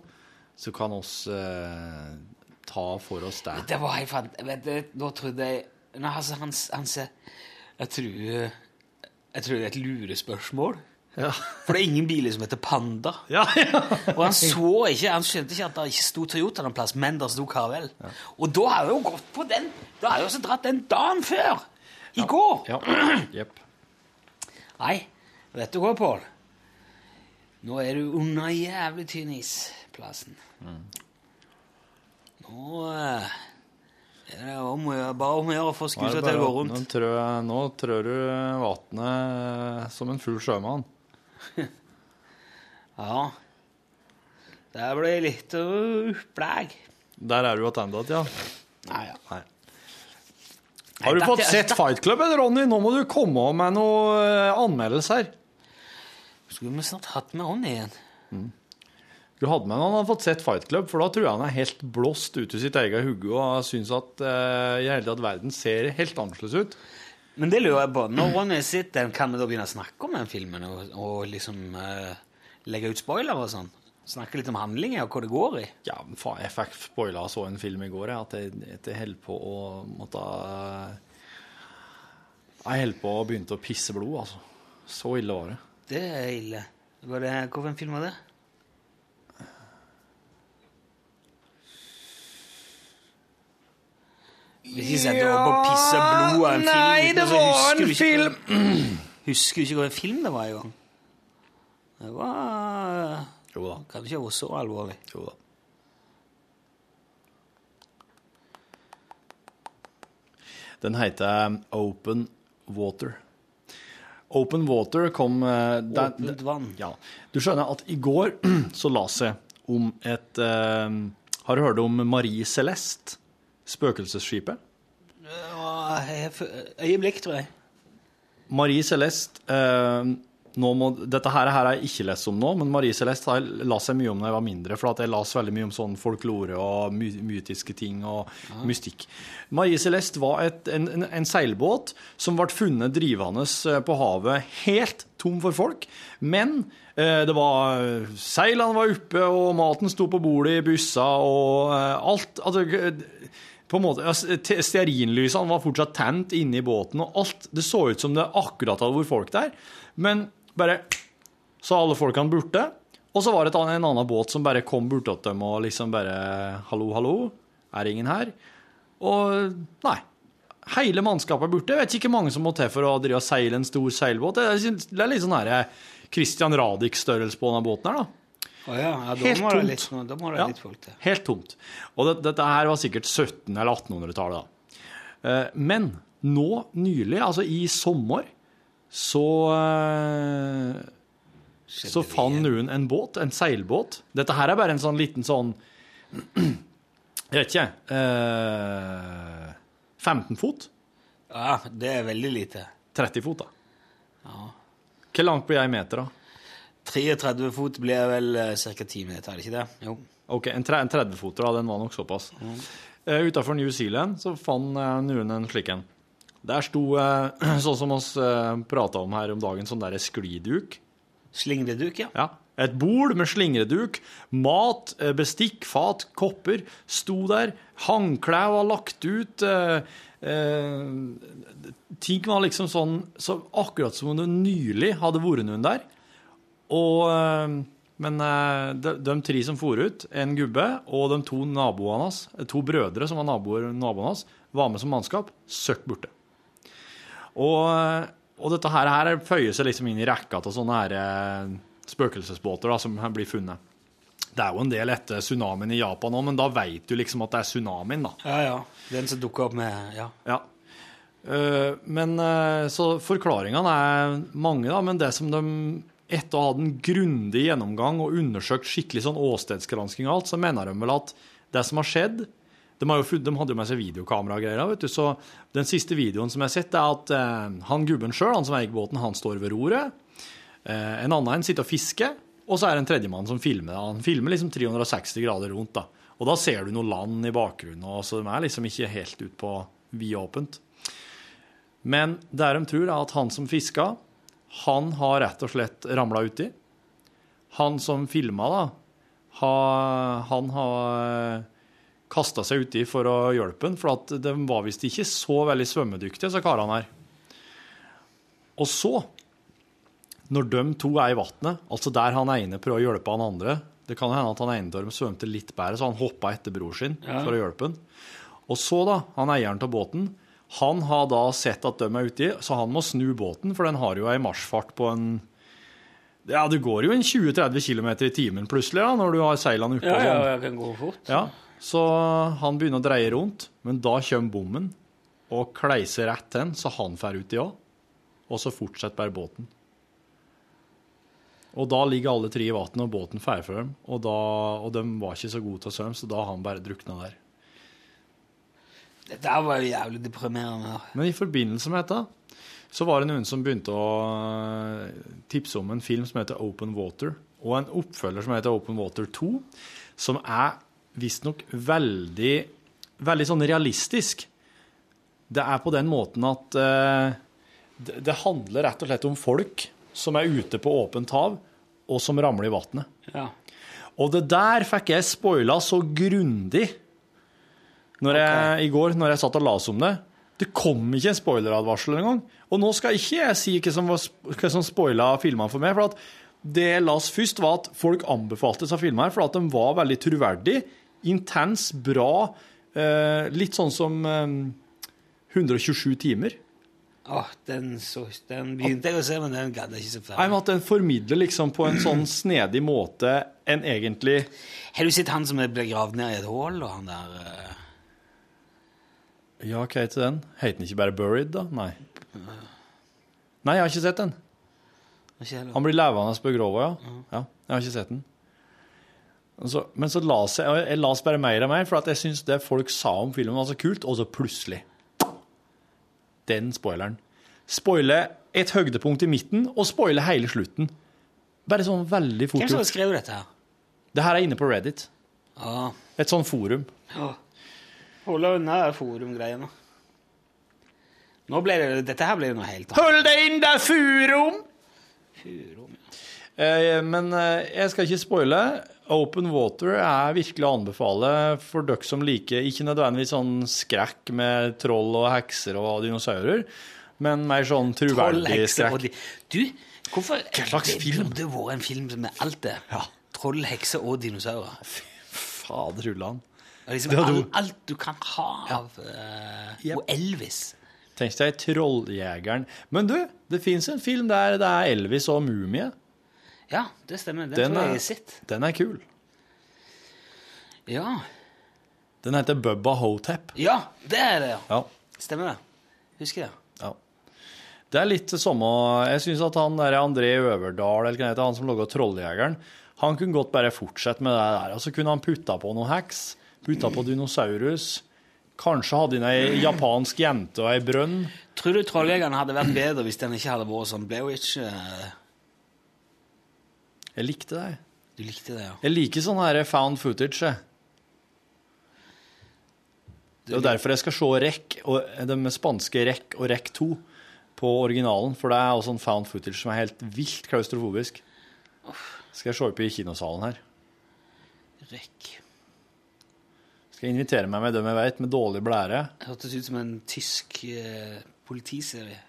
Speaker 4: Så kan oss eh, ta for oss det.
Speaker 1: Det var helt fant... Vet du, da trodde jeg Nei, altså, han, han ser Jeg tror Jeg tror det er et lurespørsmål.
Speaker 4: Ja.
Speaker 1: For det er ingen biler som heter Panda.
Speaker 4: Ja, ja.
Speaker 1: Og han så ikke, han skjønte ikke at det ikke sto Toyota noen plass, men der sto Caravelle. Og da har jeg jo gått på den, da har jeg jo også dratt den dagen før, i går.
Speaker 4: ja. Jepp.
Speaker 1: Nei, vet du hva, Pål? Nå er du under jævlig tynn isplassen. Nå eh, er det om å gjøre, bare om å gjøre å få
Speaker 4: Nå er
Speaker 1: skuta
Speaker 4: det
Speaker 1: til å gå
Speaker 4: bare- Nå
Speaker 1: rundt.
Speaker 4: trør, nå trør du vannet som en full sjømann.
Speaker 1: Ja. Det blir litt uh, opplegg.
Speaker 4: Der er du attende igjen, ja.
Speaker 1: Nei, ja.
Speaker 4: Nei. Har du fått sett Fight Club, eller, Ronny? Nå må du komme med noe eh, anmeldelse her.
Speaker 1: Skulle vi snart hatt med Ronny igjen?
Speaker 4: Du hadde med han hadde fått sett Fight Club, for da tror jeg han er helt blåst ut av sitt eget hode og syns at eh, i hele tatt verden ser helt annerledes ut.
Speaker 1: Men det lurer jeg på. Når Ronny sitter, den, kan vi da begynne å snakke om den filmen? Og, og liksom eh, legge ut spoiler og sånn? Snakke litt om handlingen og hva det går i?
Speaker 4: Ja, men faen, jeg fikk spoila og så en film i går, jeg, at jeg, at jeg holdt på å måtte eh, Jeg holdt på å begynte å pisse blod, altså. Så ille var det.
Speaker 1: Det er ille. Var det, hvorfor en film var det? Hvis jeg setter over på pisse blod av en film
Speaker 4: Nei,
Speaker 1: uten å
Speaker 4: det
Speaker 1: så husker
Speaker 4: var en
Speaker 1: du ikke-
Speaker 4: film
Speaker 9: Husker jo ikke hvilken film det var engang. Det var
Speaker 4: Jo da.
Speaker 9: Kan ikke ha vært så alvorlig.
Speaker 4: Jo da. Den heter um, Open Water. Open Water kom eh, der-
Speaker 9: Åpent vann.
Speaker 4: Ja. Du skjønner at i går så leste jeg om et eh, Har du hørt om Marie Celeste? Spøkelsesskipet?
Speaker 9: Ja, jeg f- Øyeblikk, tror jeg.
Speaker 4: Marie Celeste eh, nå må, Dette her, her har jeg ikke lest om nå, men Marie Celeste har jeg lest seg mye om da jeg var mindre. For at jeg las veldig mye om sånn folklore og my mytiske ting og mystikk. Marie Celeste var et, en, en, en seilbåt som ble funnet drivende eh, på havet helt tom for folk. Men eh, det var seilene var oppe, og maten sto på bordet i busser, og eh, alt altså, eh, på en måte, ja, ste- Stearinlysene var fortsatt tent inne i båten, og alt Det så ut som det akkurat hadde vært folk der, men bare Så alle folkene borte. Og så var det et annet- en annen båt som bare kom bort til dem og liksom bare 'Hallo, hallo, er det ingen her?' Og nei. Hele mannskapet er borte. Jeg vet ikke hvor mange som må til for å drive og seile en stor seilbåt. Det er, det er litt sånn her Christian Radich-størrelse på denne båten her, da.
Speaker 9: Å ja, ja, da
Speaker 4: Helt
Speaker 9: må det
Speaker 4: tomt.
Speaker 9: litt, da må det
Speaker 4: Ja,
Speaker 9: litt folk til.
Speaker 4: Helt tomt. Og det, dette her var sikkert 17- eller 1800-tallet, da. Eh, Men nå nylig, altså i sommer, så eh, Så fant noen en båt, en seilbåt. Dette her er bare en sånn liten sånn Jeg vet ikke, eh, 15 fot?
Speaker 9: Ja, det er veldig lite.
Speaker 4: 30 fot, da. Hvor langt blir jeg i meter, da?
Speaker 9: 33 fot blir vel
Speaker 1: eh,
Speaker 9: ca. 10 meter, er det ikke det? Jo.
Speaker 4: Ok, En, tre- en 30-foter, da. Den var nok såpass. Eh, Utenfor New Zealand så fant eh, noen en slik en. Der sto, eh, sånn som oss eh, prata om her om dagen, sånn derre skliduk.
Speaker 9: Slingreduk, ja.
Speaker 4: Ja. Et bord med slingreduk, mat, eh, bestikk, fat, kopper sto der. Håndklær var lagt ut. Eh, eh, ting var liksom sånn så Akkurat som om det nylig hadde vært noen der. Og, eh, men eh, de, de tre som for ut, en gubbe og de to naboene hans, eh, to brødre som var naboer, naboene hans, var med som mannskap. Søkk borte. Og, og dette her, her føyer seg liksom inn i rekka til sånne her eh, spøkelsesbåter da, som her blir funnet. Det er jo en del etter tsunamien i Japan òg, men da veit du liksom at det er tsunamien, da.
Speaker 9: Ja, ja. Den som dukker opp med Ja.
Speaker 4: Ja. Eh, men eh, Så forklaringene er mange, da, men det som de etter å ha hatt en grundig gjennomgang og undersøkt skikkelig sånn åstedsgransking og alt, så mener de vel at det som har skjedd De, har jo, funnet- de hadde jo med seg videokamera og greier, vet du, så den siste videoen som jeg har sett, er at eh, han gubben sjøl, han som eier båten, han står ved roret. Eh, en annen sitter og fisker, og så er det en tredjemann som filmer. det. Han filmer liksom 360 grader rundt, da. Og da ser du noe land i bakgrunnen, og så de er liksom ikke helt ut på vidåpent. Men det de tror, er at han som fiska, han har rett og slett ramla uti. Han som filma, da, ha, han har kasta seg uti for å hjelpe han, for at de var visst ikke så veldig svømmedyktige, så karene her. Og så når de to er i vannet, altså der han ene prøver å hjelpe han andre Det kan hende at han ene av dem svømte litt bedre, så han hoppa etter bror sin for å hjelpe han. Og så, da, han eieren av båten, han har da sett at de er uti, så han må snu båten, for den har jo ei marsjfart på en Ja, det går jo en 20-30 km i timen plutselig, da, når du har seilene oppe og sånn.
Speaker 9: jeg kan gå fort.
Speaker 4: Ja, så han begynner å dreie rundt, men da kommer bommen og kleiser rett til han, så han fer ut i òg. Og så fortsetter bare båten. Og da ligger alle tre i vannet, og båten fer for dem. Og, da, og de var ikke så gode til å svømme, så da har han bare drukna der.
Speaker 9: Det der var jo jævlig deprimerende.
Speaker 4: Men i forbindelse med dette så var det noen som begynte å eh, tipse om en film som heter Open Water, og en oppfølger som heter Open Water 2, som er visstnok veldig, veldig sånn realistisk. Det er på den måten at eh, det, det handler rett og slett om folk som er ute på åpent hav, og som ramler i vannet.
Speaker 9: Ja.
Speaker 4: Og det der fikk jeg spoila så grundig når jeg, i går når jeg satt og las om det. Det kom ikke en spoileradvarsel engang. Og nå skal ikke jeg si hva som, var, sp- hva som spoila filmene for meg. For at det jeg las først, var at folk anbefalte seg filmer for at de var veldig troverdige. Intens, bra. Eh, litt sånn som eh, 127 timer.
Speaker 1: Åh, den, så, den begynte jeg å se, men den gadd jeg ikke se
Speaker 4: Nei,
Speaker 1: ferdig.
Speaker 4: men At den formidler liksom på en sånn snedig måte en egentlig
Speaker 1: Har du sett han som ble gravd ned i et hull, og han der eh,
Speaker 4: Ja, hva heter den? Heter den ikke bare Buried, da? Nei. Nei, jeg har ikke sett den.
Speaker 1: hva skjer da?
Speaker 4: Han blir levende på grova, ja. ja. Jeg har ikke sett den. Og så- men så las jeg, og jeg las bare mer og mer, for at jeg syns det folk sa om filmen, var så kult, og så plutselig Den spoileren. Spoile et høydepunkt i midten, og spoile hele slutten. Bare sånn veldig fort
Speaker 1: Hvem som
Speaker 4: gjort.
Speaker 1: skrev dette her?
Speaker 4: Det her er inne på Reddit.
Speaker 1: Ah.
Speaker 4: Et sånn forum.
Speaker 1: Ja. Holde unna forumgreiene. Nå ble det, dette her ble det noe helt annet.
Speaker 4: Hold deg inn, det er furum! Eh, men eh, jeg skal ikke spoile. Open Water er virkelig å anbefale for dere som liker ikke nødvendigvis sånn skrekk med troll og hekser og dinosaurer, men mer sånn
Speaker 1: Troll,
Speaker 4: troverdig
Speaker 1: hekser og
Speaker 4: skrekk.
Speaker 1: di- Du, hvorfor Hva
Speaker 4: slags film?
Speaker 1: Det burde vært en film med alt det.
Speaker 4: Ja.
Speaker 1: Troll, hekser og dinosaurer.
Speaker 4: Fader ullan.
Speaker 1: Det er liksom
Speaker 4: Det hadde
Speaker 1: alt,
Speaker 4: vært-
Speaker 1: alt du kan ha av eh,
Speaker 4: Yep.
Speaker 1: Og Elvis.
Speaker 4: Tenk deg Trolljegeren. Men du, det fins en film der det er Elvis og mumie.
Speaker 1: Ja, det stemmer. Den,
Speaker 4: Den
Speaker 1: tror jeg jeg
Speaker 4: er-
Speaker 1: har sett.
Speaker 4: Den er kul.
Speaker 1: Ja.
Speaker 4: Den heter Bubba Hotep.
Speaker 1: ja, det er det, ja.
Speaker 4: Ja.
Speaker 1: Stemmer det. Husker jeg.
Speaker 4: Ja. Det er litt det samme Jeg syns at han der André Øverdal, eller hva det heter, han som laga 'Trolljegeren', han kunne godt bare fortsette med det der. Og så kunne han putta på noen heks. Putta på dinosaurus. Kanskje hadde han ei japansk jente og ei brønn.
Speaker 1: Tror du Trolljegeren hadde vært bedre hvis den ikke hadde vært sånn Blairwich? Uh,
Speaker 4: Jeg likte det. jeg.
Speaker 1: du likte det, ja.
Speaker 4: Jeg liker sånn her found footage. jeg. Det er jo derfor jeg skal se REC, og eh, det med spanske REC og REC 2 på originalen. For det er også en found footage som er helt vilt klaustrofobisk. Skal jeg se på i kinosalen her.
Speaker 1: Rekk.
Speaker 4: Skal jeg invitere meg med dem jeg vet, med dårlig blære?
Speaker 1: Hørtes ut som en tysk eh, politiserie.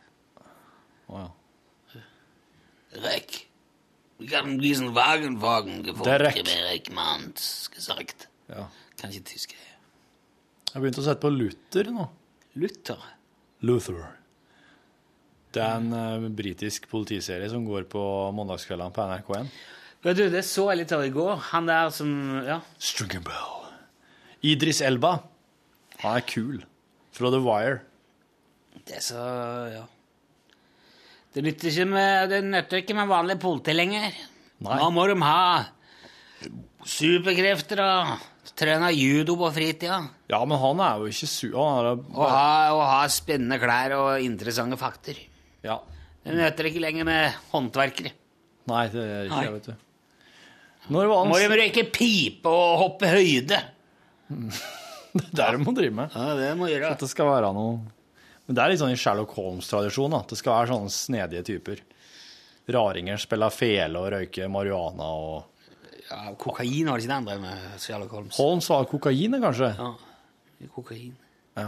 Speaker 4: Å, ja.
Speaker 1: Rekk. Vi kan diesen Wagenwagen gefunden.
Speaker 4: Der Reck.
Speaker 1: Rekk Manns gesagt.
Speaker 4: ja.
Speaker 1: Kan ikke tysk. jeg.
Speaker 4: Jeg begynte å sette på Luther nå.
Speaker 1: Luther.
Speaker 4: Luther. Det er en eh, britisk politiserie som går på mandagskveldene på NRK1.
Speaker 1: Vet du, det så jeg litt av i går. Han der som Ja.
Speaker 4: String and bell. Idris Elba. Han er kul. Fra The Wire.
Speaker 1: Det er så Ja. Det nytter ikke med, det nytter ikke med vanlig politi lenger.
Speaker 4: Nei.
Speaker 1: Nå må de ha superkrefter og trene judo på fritida.
Speaker 4: Ja, men han er jo ikke sur. Han er
Speaker 1: Og ha, og ha spennende klær og interessante fakter.
Speaker 4: Ja.
Speaker 1: Det nytter ikke lenger med håndverkere.
Speaker 4: Nei, det er ikke
Speaker 1: Nei.
Speaker 4: jeg, vet du. Når var
Speaker 1: Må
Speaker 4: han
Speaker 1: de røyke pipe og hoppe høyde?
Speaker 4: Det er det man driver med.
Speaker 1: Ja, det må gjøre.
Speaker 4: At det skal være noe Men det er litt sånn i Sherlock Holmes-tradisjon. da. Det skal være sånne snedige typer. Raringer spiller fele og røyker marihuana og
Speaker 1: Ja, kokain var det ikke det han drev med, Sherlock Holmes.
Speaker 4: Holmes var kokain, da, kanskje?
Speaker 1: Ja, kokain.
Speaker 4: Ja.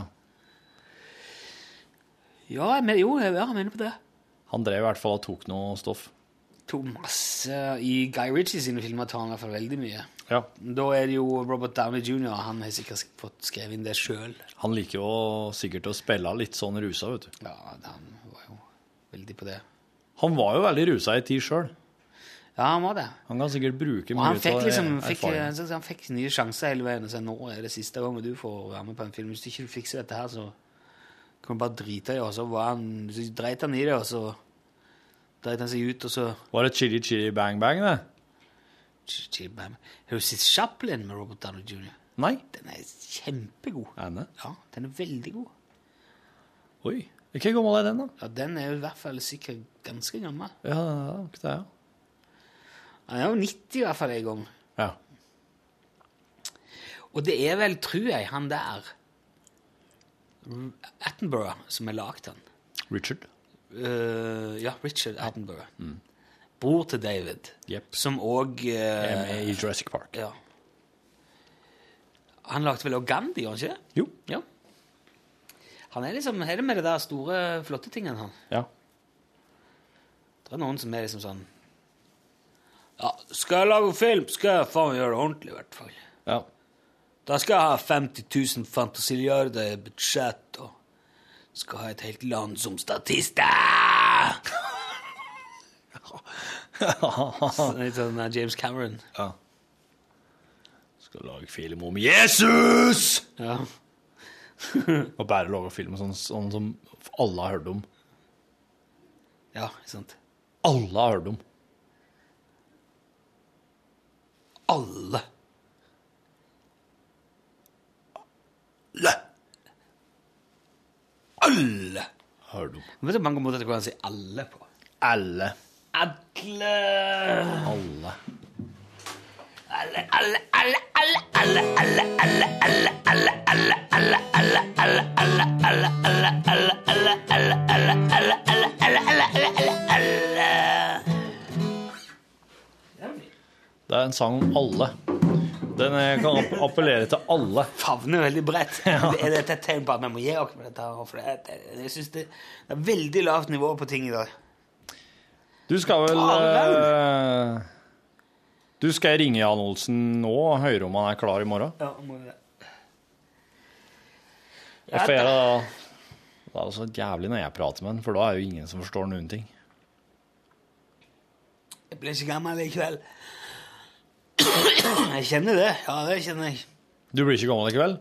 Speaker 1: Ja, jeg mener, jo, jeg, ja, jeg mener på det.
Speaker 4: Han drev i hvert fall og tok noe stoff.
Speaker 1: Tok masse eh, I Guy Ritchie sine filmer tar han i hvert fall veldig mye.
Speaker 4: Ja.
Speaker 1: Da er det jo Robert Downey jr. Han har sikkert fått skrevet inn det sjøl.
Speaker 4: Han liker jo sikkert å spille litt sånn rusa, vet du.
Speaker 1: Ja, han var jo veldig på det.
Speaker 4: Han var jo veldig rusa i tid sjøl.
Speaker 1: Ja, han var det.
Speaker 4: Han kan sikkert bruke
Speaker 1: Og
Speaker 4: mye
Speaker 1: han fikk
Speaker 4: av
Speaker 1: liksom fikk,
Speaker 4: erfaringen.
Speaker 1: så- han fikk nye sjanser hele veien. Og sa nå er det siste gangen du får være med på en film. Hvis du ikke fikser dette her, så kan du bare drite i det. Og så, var han, så dreit han i det, og så dreit han seg ut, og så
Speaker 4: Var det chili chili bang bang, det?
Speaker 1: Ch- ch- bam. Har du sett Chaplin med Robert Downey jr.?
Speaker 4: Nei.
Speaker 1: Den er kjempegod.
Speaker 4: Er det?
Speaker 1: Ja, den er veldig god.
Speaker 4: Oi. Hvor gammel er den, da?
Speaker 1: Ja, Den er jo i hvert fall sikkert ganske gammel.
Speaker 4: Ja, ja, det er,
Speaker 1: Han er jo 90 i hvert fall en gang.
Speaker 4: ja. ja.
Speaker 1: Og det er vel, tror jeg, han der R- Attenborough som har lagd den.
Speaker 4: Richard.
Speaker 1: Eh, ja, Richard Attenborough.
Speaker 4: Mm.
Speaker 1: Bror til David,
Speaker 4: Jepp.
Speaker 1: som òg
Speaker 4: Er med i Jurassic Park.
Speaker 1: ja. Han lagde vel òg Gandhi, gjorde han ikke det?
Speaker 4: Jo.
Speaker 1: Ja. Han er liksom er det med det der store, flotte tingene, han.
Speaker 4: Ja.
Speaker 1: Det er noen som er liksom sånn Ja, skal jeg lage film, skal jeg faen gjøre det ordentlig, i hvert fall.
Speaker 4: ja.
Speaker 1: Da skal jeg ha 50 000 fantasiliarder i budsjett, og Skal ha et helt land som statister! Så Litt sånn eh, James Cameron.
Speaker 4: Skal lage film om Jesus!
Speaker 1: Ja.
Speaker 4: Og bare lage film sånn, sånn som alle har hørt om.
Speaker 1: ja, ikke sant.
Speaker 4: Alle har hørt om.
Speaker 1: Alle.
Speaker 4: Alle!
Speaker 1: Alle!
Speaker 4: Hørt om.
Speaker 1: Vet du mange måter det går an å si alle på?
Speaker 4: Alle.
Speaker 1: Alle!
Speaker 4: Alle.
Speaker 1: Alle, alle, alle, alle, alle, alle, alle, alle, alle, alle, alle, alle, alle, alle, alle, alle, alle, alle, alle, alle, alle, alle, alle, alle, alle, alle, alle.
Speaker 4: Det er en sang om alle. Den eh, kan app appellere til alle.
Speaker 1: favner veldig bredt. Er dette et tegn på at vi må gi oss med dette? her? For det, er- jeg synes det, det er veldig lavt nivå på ting i dag.
Speaker 4: Du skal vel eh, Du skal ringe Jan Olsen nå og høre om han er klar i morgen.
Speaker 1: Ja, må vi det.
Speaker 4: Jeg får gjøre det. Det er jo så jævlig når jeg prater med han, for da er jo ingen som forstår noen ting.
Speaker 1: Jeg blir ikke gammel likevel. Jeg kjenner det. Ja, det kjenner jeg.
Speaker 4: Du blir ikke gammel i kveld?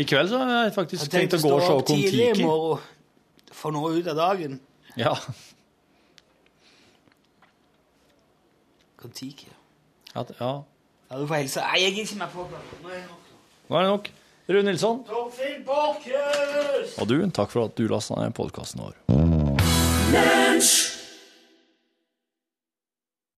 Speaker 4: I kveld så har jeg faktisk
Speaker 1: Jeg
Speaker 4: tenkt
Speaker 1: tenkte
Speaker 4: å gå og se
Speaker 1: stå opp tidlig i
Speaker 4: Kon-Tiki.
Speaker 1: morgen. Få noe ut av dagen.
Speaker 4: Ja.
Speaker 1: Kon-Tiki.
Speaker 4: Ja, t- ja.
Speaker 1: Ja, du får hilse. Nei, jeg gidder ikke mer på det. Nå er det nok.
Speaker 4: Nå er det nok. Rune Nilsson.
Speaker 1: Torfinn Borchhus!
Speaker 4: Og du, takk for at du lasta ned podkasten vår.
Speaker 10: Lunsj!